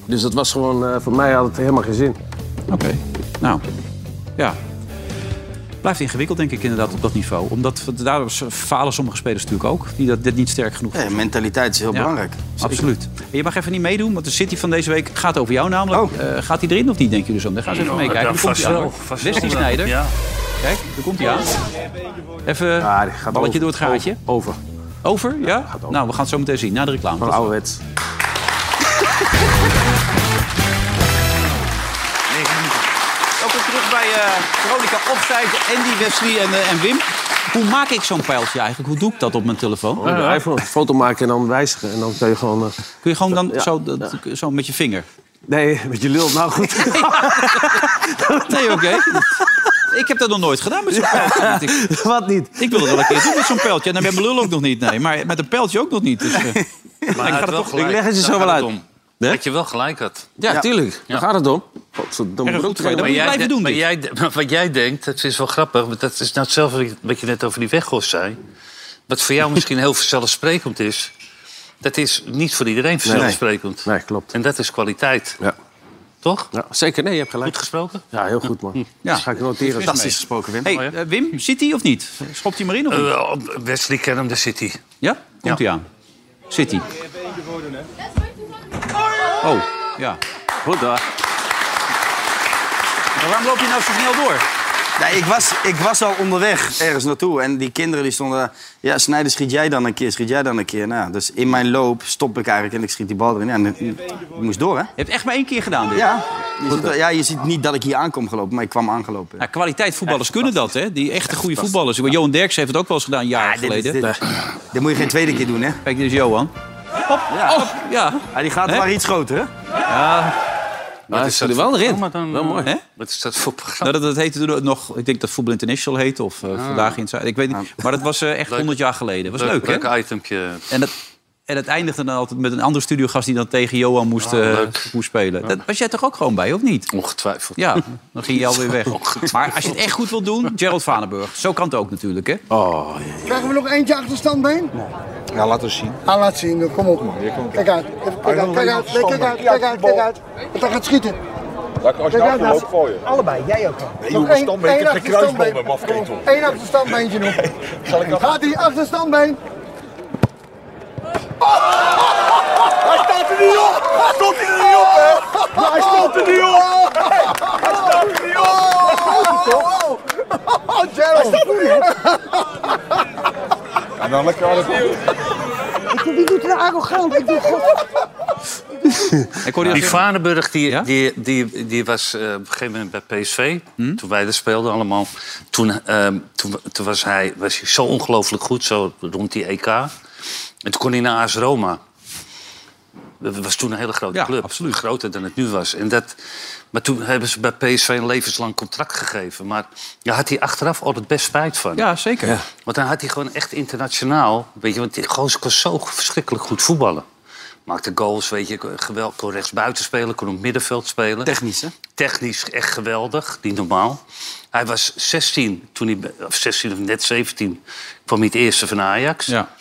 D: Dus dat was gewoon, eh, voor mij had het helemaal geen zin.
B: Oké. Nou, ja. Blijft ingewikkeld, denk ik, inderdaad, op dat niveau. Omdat daardoor falen sommige spelers natuurlijk ook. Die dat, dit niet sterk genoeg
E: Ja, eh, mentaliteit is heel
B: Ja,
E: belangrijk.
B: Absoluut. En je mag even niet meedoen, want de City van deze week gaat over jou namelijk. Eh, gaat hij erin of niet, denken jullie zo? Dan gaan ze even
C: Ja,
B: meekijken.
C: Oh, dat
B: Daar komt
C: vast
B: hij aan,
C: wel,
B: hoor.
C: vast wel.
B: Wesley Sneijder.
C: Ja.
B: Kijk, daar komt hij aan. Even een balletje door het gaatje.
D: Over.
B: Over, Oh. ja? Nou, we gaan het zo meteen zien, na de reclame. Van
D: ouderwets.
B: Welkom terug bij eh Veronica Opzijde, Andy, Wesley en, eh, en Wim. Hoe maak ik zo'n pijltje eigenlijk? Hoe doe ik dat op mijn telefoon?
D: Gewoon de iPhone, foto maken en dan wijzigen. En dan kun je gewoon... eh,
B: Kun je gewoon dan
D: Ja.
B: zo, dat- zo met je vinger?
D: nee, [laughs] met je lul, nou goed.
B: Nee, oké. Ik heb dat nog nooit gedaan met zo'n pijltje. Ik-
D: [laughs] Wat niet?
B: Ik wil het wel een keer doen met zo'n pijltje. En dan met mijn lul ook nog niet, nee. Maar met een pijltje ook nog niet. Dus, eh,
C: Maar
B: ik
C: hij
B: ga
C: had
B: er
C: wel
B: toch-
C: gelijk.
B: ik leg het je
C: Daar
B: zo wel
C: gaat
B: uit.
C: om. Dat je wel gelijk had.
D: Ja, tuurlijk. Daar gaat het om.
C: Erg
D: Godverdomme
C: goed, maar jij de- maar jij de- maar wat jij denkt, het is wel grappig... want dat is nou hetzelfde wat je net over die weggos zei. Wat voor jou misschien heel vanzelfsprekend is... dat is niet voor iedereen vanzelfsprekend.
D: Nee, klopt.
C: En dat is kwaliteit.
D: Ja.
C: Toch?
D: Ja, zeker, nee, je hebt gelijk.
C: Goed gesproken?
D: Ja, heel goed, man. Dat ga ik noteren.
B: Fantastisch
E: gesproken, Wim.
D: Oh
B: Hey, eh, Wim, zit hij of niet? Schopt hij maar in of niet?
C: Eh, Wesley Kenham, de City.
B: Ja? Komt hij aan. City. Oh, ja.
D: Goed hoor.
B: Maar waarom loop je nou zo snel door?
E: Nee, ik, was, ik was al onderweg ergens naartoe. En die kinderen die stonden... Ja, Snijder, schiet jij dan een keer, schiet jij dan een keer. Nou, dus in mijn loop stop ik eigenlijk en ik schiet die bal erin. Ja, en eh, ik moest door, hè?
B: Je hebt echt maar één keer gedaan dit.
E: Ja. Je ziet, wel-
B: eh.
E: ja, je ziet niet dat ik hier aankom gelopen, maar ik kwam aangelopen.
B: Nou, kwaliteit voetballers kunnen dat, hè? Die echte goede voetballers. Johan Derks heeft het ook wel eens gedaan, jaren
E: Ah, dit is-
B: geleden.
E: dit- Dit moet je geen tweede keer doen, hè?
B: Kijk, dit is Johan. Hop, ja. ja.
E: Ja, Ah, die gaat
B: Hè?
E: maar iets groter, hè?
C: Wat
D: hij
C: is
D: zit
C: dat
D: er wel
C: voor
D: erin.
C: programma dan,
D: Wel mooi.
B: Hè?
C: Wat is dat voor programma?
B: Nou, dat, dat heette toen nog, ik denk dat Voetbal International heette. Of eh, Vandaag in Ik weet niet. Maar dat was eh, echt
C: Leuk.
B: 100 jaar geleden. was leuk, hè?
C: Leuk itempje.
B: En dat, en dat eindigde dan altijd met een andere studiogast die dan tegen Johan moest, eh,
C: Ah, leuk.
B: moest spelen. Dat was jij toch ook gewoon bij, of niet?
C: Ongetwijfeld.
B: Ja, dan ging je alweer weg.
C: [laughs] Ongetwijfeld.
B: Maar als je het echt goed wil doen, Gerald Vanenburg. Zo kan het ook natuurlijk, hè?
D: Oh,
M: Krijgen we nog eentje achterstand bij? Nee.
N: Ja, laat eens zien.
M: Ah, laat zien, kom op man. Kijk uit, even kijk uit, kijk uit, kijk uit, kijk uit, kijk uit. Want hij gaat schieten.
N: Als
M: Kijk
N: je
M: uit,
N: nou
M: nou.
N: ook voor je.
M: Allebei, jij ook.
N: Nee, joh, mijn standbeen, ik heb geen kruisband met mafketel.
M: Eén achterstandbeentje nog. En Gaat hij achterstandbeen?
N: Hij staat er niet op! Hij stond er niet op, hè! Maar hij stond er niet op! Hij staat er niet op!
M: Oh, Gerald!
N: En dan lekker aan het...
M: Die doet er arrogant, ik doe goed.
B: Ik hoorde
C: die
B: je zeggen-
C: Vanenburg die, die, die, die was eh, op een gegeven moment bij PSV.
B: Hm?
C: Toen wij daar speelden allemaal. Toen, ehm, toen, toen was, hij, was hij zo ongelooflijk goed, zo rond die EK. En toen kon hij naar AS Roma. Dat was toen een hele grote
B: Ja,
C: club. Groter dan het nu was. En dat, maar toen hebben ze bij PSV een levenslang contract gegeven. Maar ja, had hij achteraf altijd best spijt van.
B: Ja, zeker.
C: Want dan had hij gewoon echt internationaal... Weet je, want die gozer kon zo verschrikkelijk goed voetballen. Maakte goals, weet je, geweldig. Kon rechtsbuiten spelen, kon op middenveld spelen.
E: Technisch, hè?
C: Technisch echt geweldig, niet normaal. Hij was 16, toen hij, be- of 16 of net 17, kwam hij het eerste van Ajax.
B: Ja.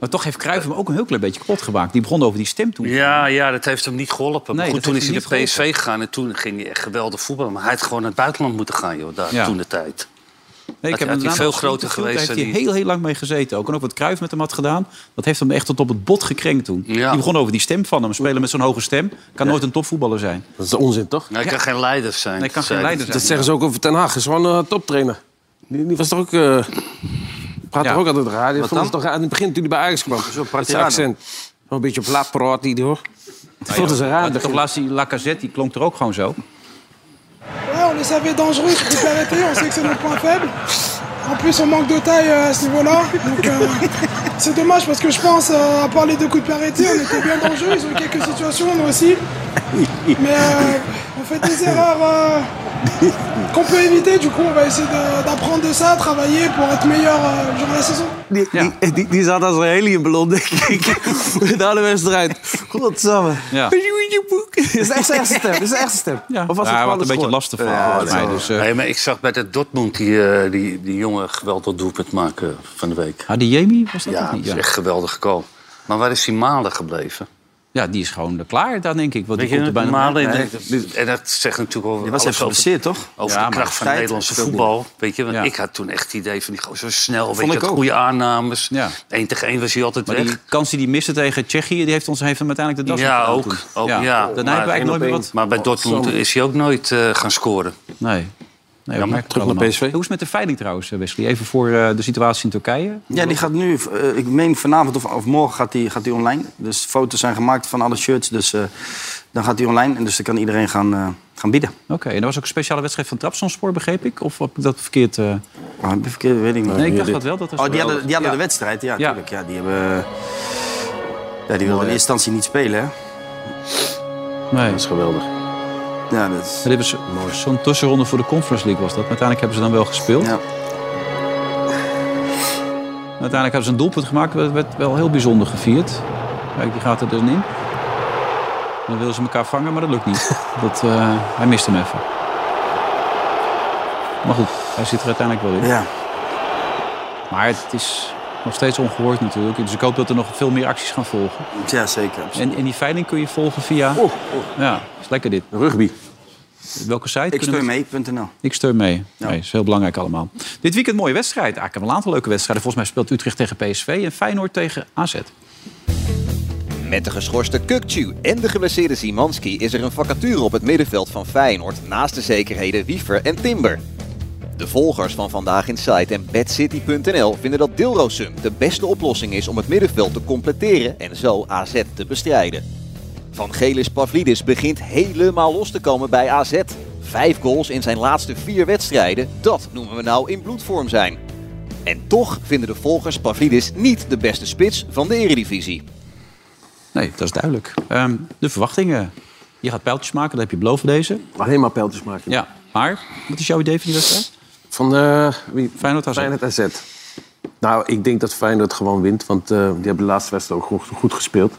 B: Maar toch heeft Cruijff hem ook een heel klein beetje kapot gemaakt. Die begon over die stem toen.
C: Ja, ja, dat heeft hem niet geholpen. Maar
B: Nee,
C: goed,
B: dat
C: toen is
B: heeft
C: hij
B: hem
C: naar
B: niet
C: PSV gegaan en toen ging hij echt geweldig voetballen. Maar hij had gewoon naar het buitenland moeten gaan, joh, daar
B: Ja.
C: toen de tijd.
B: Nee, ik heb
C: Had- had
B: hem
C: hij
B: daarna
C: veel
B: op
C: groter
B: gespeeld. Daar
C: geweest
B: heeft
C: en
B: hij
C: die-
B: heel, heel lang mee gezeten ook. En ook wat Kruif met hem had gedaan. Dat heeft hem echt tot op het bot gekrenkt toen. Die begon over die stem van hem. Spelen met zo'n hoge stem. Kan nooit een topvoetballer zijn.
D: Dat is onzin, toch?
C: Hij kan geen leider zijn.
B: Nee, kan geen
C: zei-
B: leider zijn.
D: Dat zeggen ze ook over Ten Haag. Hij is gewoon een toptrainer. Die, die was toch ook... eh praat toch ook altijd raar. Die
C: Wat
D: vond
C: dan?
D: het toch raar. In het begin toen hij bij Ajax kwam. Zo
C: praat hij raar
D: accent. Wel een beetje op laat praat hij, hoor. Dat vond ze raar. in het
B: Toch
D: begin.
B: laatst die Lacazette, die klonk er ook gewoon zo.
O: Ouais, on les savait dangereux sur toute la réalité, on sait que c'est notre point faible. En plus, on manque de taille euh, à ce niveau-là. Donc, euh, c'est dommage parce que je pense, euh, à part les deux coups de pied arrêtés, on était bien dangereux. Ils ont eu quelques situations, nous aussi. Mais euh, on fait des erreurs euh, [laughs] qu'on peut éviter. Du coup, on va essayer de- d'apprendre de ça, travailler pour être meilleur euh, durant la saison.
D: Die, die, die, die zat als een heliumballon, denk [laughs] ik. De alle wedstrijd. Godsamme.
B: Ja.
D: Dat is echt zijn stem. Dat is echt zijn stem. Of was
B: Ja, hij had
D: het gewoon
B: een beetje last ervan, volgens mij. Dus, eh,
C: Nee, maar ik zag bij dat Dortmund die, eh, die, die jongen geweld tot doelpunt maken van de week.
B: Ah, die Jamie was dat
C: ja,
B: of niet?
C: dat
B: Ja.
C: is echt geweldig goal. Maar waar is die Malen gebleven?
B: ja, die is gewoon eh, klaar daar, denk ik. Want die
C: Weet je,
B: komt er bijna
C: Malen,
B: Nee.
C: en- en dat zegt natuurlijk over
B: Die was
C: alles
B: even geblesseerd,
C: over-
B: toch?
C: Over
B: Ja,
C: de
B: maar
C: kracht van
B: tijd
C: het Nederlandse
B: speelde
C: voetbal.
B: hij.
C: Weet je, want
B: Ja.
C: ik had toen echt het idee van die gozer zo snel.
B: Vond
C: Weet je,
B: ik
C: dat
B: ook.
C: goede aannames.
B: Ja.
C: 1 tegen 1 was hij altijd
B: Maar
C: weg.
B: die kans die die miste tegen Tsjechië, die heeft, ons, heeft hem uiteindelijk de das
C: ja,
B: afgehaald
C: ook.
B: toen.
C: ook ja.
B: Daarna hebben we eigenlijk nooit meer wat... Oh,
C: Maar bij Dortmund is hij ook nooit eh, gaan scoren.
B: Nee. Nee, dat merk ik allemaal. Hoe is het met de veiling trouwens, Wesley? Even voor eh, de situatie in Turkije.
E: Ja, die gaat nu, eh, ik meen vanavond of, of morgen gaat die, gaat die online. Dus foto's zijn gemaakt van alle shirts, dus eh, dan gaat die online. En dus dan kan iedereen gaan, eh, gaan bieden.
B: Oké, en er was ook een speciale wedstrijd van Trabzonspor, begreep ik? Of heb ik dat verkeerd... eh
E: Ah, verkeerd, weet ik niet.
B: Nee, ik dacht dat wel. Dat was
E: oh, die hadden, die hadden
B: Ja.
E: de wedstrijd, ja, natuurlijk. Ja, die hebben... eh, Ja, die wilden in eerste instantie niet spelen, hè?
B: Nee.
E: Dat is geweldig. Ja, dat is...
B: Maar dit was zo'n tussenronde voor de Conference League was dat. Maar uiteindelijk hebben ze dan wel gespeeld. Uiteindelijk hebben ze een doelpunt gemaakt. Dat werd wel heel bijzonder gevierd. Kijk, die gaat er dus in. Dan willen ze elkaar vangen, maar dat lukt
E: [laughs]
B: niet. Dat, eh, hij mist hem even. Maar goed, hij zit er uiteindelijk wel in.
E: Ja.
B: Maar het is nog steeds ongehoord natuurlijk. Dus ik hoop dat er nog veel meer acties gaan volgen.
E: Ja, zeker.
B: En, en die veiling kun je volgen via... Ja, is lekker dit.
D: Rugby.
B: Welke site?
E: Ik
B: kunnen we-
E: steun mee.nl.
B: Ik steun mee. Nee, is heel belangrijk allemaal. Dit weekend mooie wedstrijd. Eigenlijk hebben we een aantal leuke wedstrijden. Volgens mij speelt Utrecht tegen PSV en Feyenoord tegen AZ.
P: Met de geschorste Kukcu en de geblesseerde Simanski is er een vacature op het middenveld van Feyenoord naast de zekerheden Wiever en Timber. De volgers van Vandaag Inside en BadCity.nl vinden dat Dilrosum de beste oplossing is om het middenveld te completeren en zo AZ te bestrijden. Van Gelis Pavlidis begint helemaal los te komen bij AZ.
O: euh.
P: Vijf goals in zijn laatste vier wedstrijden, dat noemen we nou in bloedvorm zijn. En toch vinden de volgers Pavlidis niet de beste spits van de eredivisie.
B: Nee, dat is duidelijk. Ehm, de verwachtingen. Je gaat pijltjes maken, dat heb je beloofd deze.
D: Alleen maar pijltjes maken.
B: Ja, maar wat is jouw idee van die wedstrijd?
D: Van eh wie?
B: Feyenoord AZ.
D: Feyenoord AZ. Nou, ik denk dat Feyenoord gewoon wint. Want eh, die hebben de laatste wedstrijd ook goed, goed gespeeld.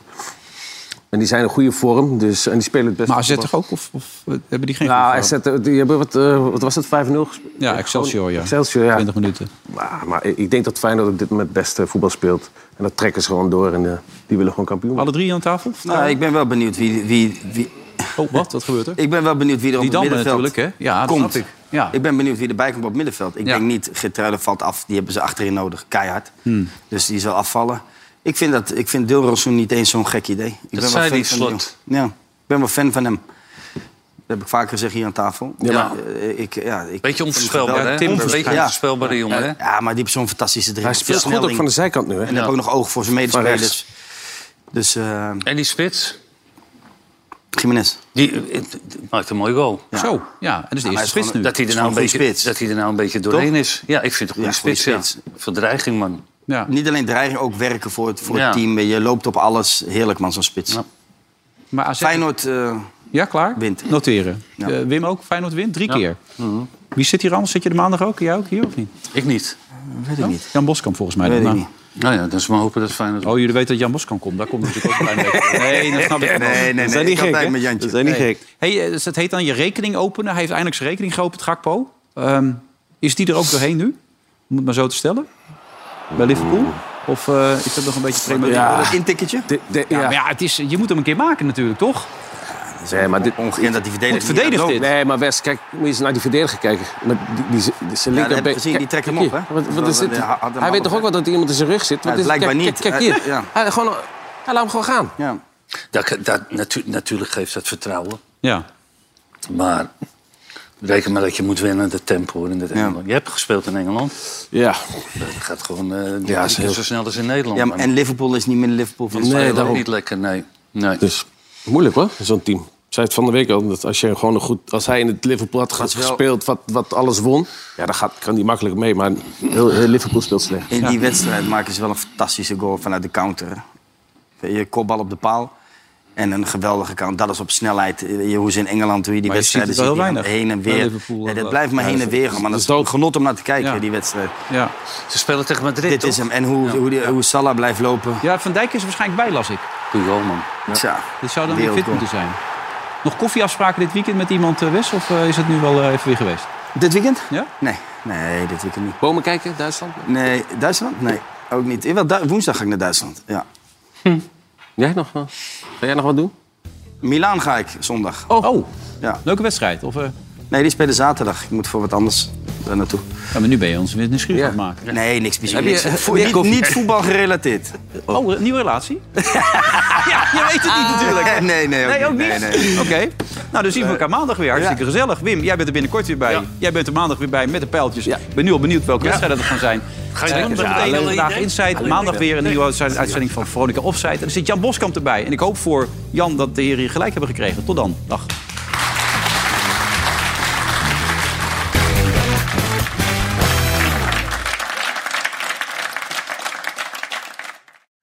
D: En die zijn in goede vorm. Dus, en die spelen het best.
B: Maar AZ toch ook? Of, of eh, hebben die geen
D: Nou,
B: goede
D: AZ, eh, die hebben wat, eh, wat was het, 5-0 gespeeld?
B: Ja, Excelsior, ja.
D: Excelsior, ja.
B: 20 minuten.
D: Maar, maar ik ik denk dat Feyenoord op dit moment het beste voetbal speelt. En dat trekken ze gewoon door. En eh, die willen gewoon kampioen worden.
B: Alle drie aan tafel?
E: Nou, ik ben wel benieuwd wie... wie, wie...
B: Oh, wat? Wat gebeurt er?
E: Ik ben wel benieuwd wie er op
B: Die
E: het
B: Damme
E: middenveld
B: natuurlijk, hè? Ja, dat
E: komt.
B: snap ik. Ja.
E: ben benieuwd wie erbij komt op het middenveld. Ik denk niet, Gertruiden valt af. Die hebben ze achterin nodig, keihard.
B: Hmm.
E: Dus die zal afvallen. Ik vind, dat, ik vind Dilrosun niet eens zo'n gek idee. Ik
C: Dat zei die
E: van die
C: slot.
E: jongen. Ja, ik ben wel fan van hem. Dat heb ik vaker gezegd hier aan tafel.
C: Ja, maar-
E: Eh, ik, ja, ik
C: Beetje onvoorspelbaar,
E: Ja,
C: hè?
E: Tim,
C: Beetje
E: ja.
C: onvoorspelbare jongen, hè?
E: Ja, maar die heeft zo'n fantastische dribbel.
D: Hij speelt goed
E: Versnelling.
D: ook van de zijkant nu, hè?
E: En heb ook nog oog voor zijn
D: Van
E: medespelers.
D: rechts.
E: Dus,
C: En die spits?
E: Jiménez.
C: Die eh, d- d- maakt een mooi goal.
E: Ja. Zo,
B: ja. En dat
E: is de eerste spits nu.
C: Dat hij
E: Dat
C: er
E: is
C: nou een
E: gewoon een goede
C: beetje, dat hij er nou een beetje doorheen is. Ja, ik vind het een goede
E: Ja, goede
C: spits. ja.
E: spits.
C: Verdreiging, man.
E: Niet alleen dreiging, ook werken voor het, voor
C: Ja.
E: het team. Je loopt op alles. Heerlijk, man, zo'n spits.
B: Maar AZ...
E: Feyenoord... eh,
B: Ja, klaar?
E: Wint.
B: Noteren.
E: Ja.
B: Eh, Wim ook, Feyenoord wint, drie
E: Ja.
B: keer.
E: Mhm.
B: Wie zit hier anders? Zit je de maandag ook? Jij ook hier of niet?
C: Ik niet.
E: Weet ik niet.
B: Jan Boskamp volgens mij.
C: Weet
B: dan,
C: ik
B: nou.
C: Nou ja, dus maar hopen dat Feyenoord...
B: Oh, jullie weten dat Jan Boskamp komt. Daar komt natuurlijk ook een klein [laughs] beetje. Nee, dat snap ik
C: Nee,
B: wel.
C: nee, nee,
B: Dat zijn niet
C: ik had
B: gek,
C: tijd
B: hè?
C: met Jantje.
B: Dat zijn niet
C: Nee.
B: gek. Hey, eh, dus het heet dan je rekening openen. Hij heeft eindelijk zijn rekening geopend, Gakpo. Ehm, is die er ook doorheen nu? Om het maar zo te stellen. Bij Liverpool? Of eh, is dat nog een beetje prematuur?
E: Ja. Een intikketje?
B: Ja, maar ja, het is, je moet hem een keer maken natuurlijk, toch?
D: Nee, maar dit,
E: ongekend dat die verdediger Goed niet verdedigd aan het lopen.
D: Nee, maar West, kijk, moet je eens naar die verdediger kijken. Maar die, die, die, die, zijn
E: Ja, dat heb
D: linkerbeen-
E: ik gezien, die
D: Kijk,
E: trekt hem
D: kijk
E: op,
D: hier.
E: hè?
D: Wat, wat is
E: Dat-
D: dit?
E: dat- dat- dat-
D: Hij weet toch ook wel dat iemand in zijn rug zit? Wat
E: Ja,
D: is dit?
E: blijkbaar
D: Kijk,
E: niet.
D: Kijk, kijk
E: Hij-
D: hier.
E: ja.
D: Hij, gewoon, hij laat hem gewoon gaan.
E: Ja.
C: Dat, dat, natu- natuurlijk geeft dat vertrouwen.
B: Ja.
C: Maar reken maar dat je moet wennen aan de tempo hoor, in het Engeland. Je hebt gespeeld in Engeland.
D: Ja.
C: Dat gaat gewoon eh, drie
E: Ja, is
C: keer
E: heel-
C: zo snel als in Nederland.
E: Ja, maar- en Liverpool is niet meer Liverpool van
C: Nee,
E: spelen.
C: daarom. niet lekker, nee. nee.
D: Dus moeilijk hoor, zo'n team. Ik zei het van de week al, dat als, je gewoon een goed, als hij in het Liverpool had
E: Dat is wel-
D: gespeeld wat, wat alles won... Ja, dan gaat, kan hij makkelijk mee, maar heel, heel Liverpool speelt slecht.
E: In die
D: Ja.
E: wedstrijd maken ze wel een fantastische goal vanuit de counter. Je kopbal op de paal en een geweldige counter. Dat is op snelheid. Je, hoe ze in Engeland, hoe je die
B: Maar je
E: wedstrijden
B: ziet het wel
E: ziet,
B: heel
E: die Heen en
B: weinig bij
E: weer.
B: Liverpool,
E: Ja, dat
B: eh,
E: blijft maar
B: ja,
E: heen en
B: dat-
E: weer gaan. Maar dat is een genot om naar te kijken, die wedstrijd.
B: Ja.
C: Ze spelen tegen Madrid,
E: Dit is hem. En hoe, hoe, die- hoe Salah blijft lopen.
B: Ja, Van Dijk is er waarschijnlijk bij, las ik.
C: Goeie goal, man.
E: Tja,
B: Dit zou dan weer fit
E: wereldgoal.
B: moeten zijn. Nog koffieafspraken dit weekend met iemand, eh, Wes? Of eh, is het nu wel eh, even weer geweest?
E: Dit weekend?
B: Ja?
E: Nee, nee, dit weekend niet.
D: Bomen kijken, Duitsland?
E: Nee, Duitsland? Nee, ook niet. Eh, wel, Du- woensdag ga ik naar Duitsland, ja.
D: Hm. Jij nog? eh, Ga jij nog wat doen?
E: Milaan ga ik zondag.
B: Oh,
E: Ja.
B: leuke wedstrijd. Of, eh?
E: Nee, die spelen zaterdag. Ik moet voor wat anders daar naartoe.
B: Ja, maar nu ben je ons weer nieuwsgierig aan het maken.
E: Nee, niks bijzonders.
B: Heb je-
E: Niks- vo-
B: meer
E: niet,
B: koffie?
E: niet voetbal
D: [laughs]
E: gerelateerd.
B: Oh, een nieuwe
E: [laughs]
B: relatie? ja, je weet het niet natuurlijk.
E: Ah. Nee, nee, ook
B: nee, ook
E: niet.
B: niet.
E: Nee, nee.
B: Oké. Nou, dan zien we elkaar maandag weer. Hartstikke gezellig. Wim, jij bent er binnenkort weer bij. Jij bent er maandag weer bij met de pijltjes. Ik ben nu al benieuwd welke wedstrijden dat gaan zijn.
C: Ga je
B: Eh,
C: doen?
B: zometeen
C: Ja, alleen
B: Hele dag
C: idee.
B: Insight.
C: Alleen
B: Maandag
C: idee.
B: weer een nieuwe uitzending uitzending van Veronica Offside. En er zit Jan Boskamp erbij. En ik hoop voor Jan dat de heren hier gelijk hebben gekregen. Tot dan. Dag.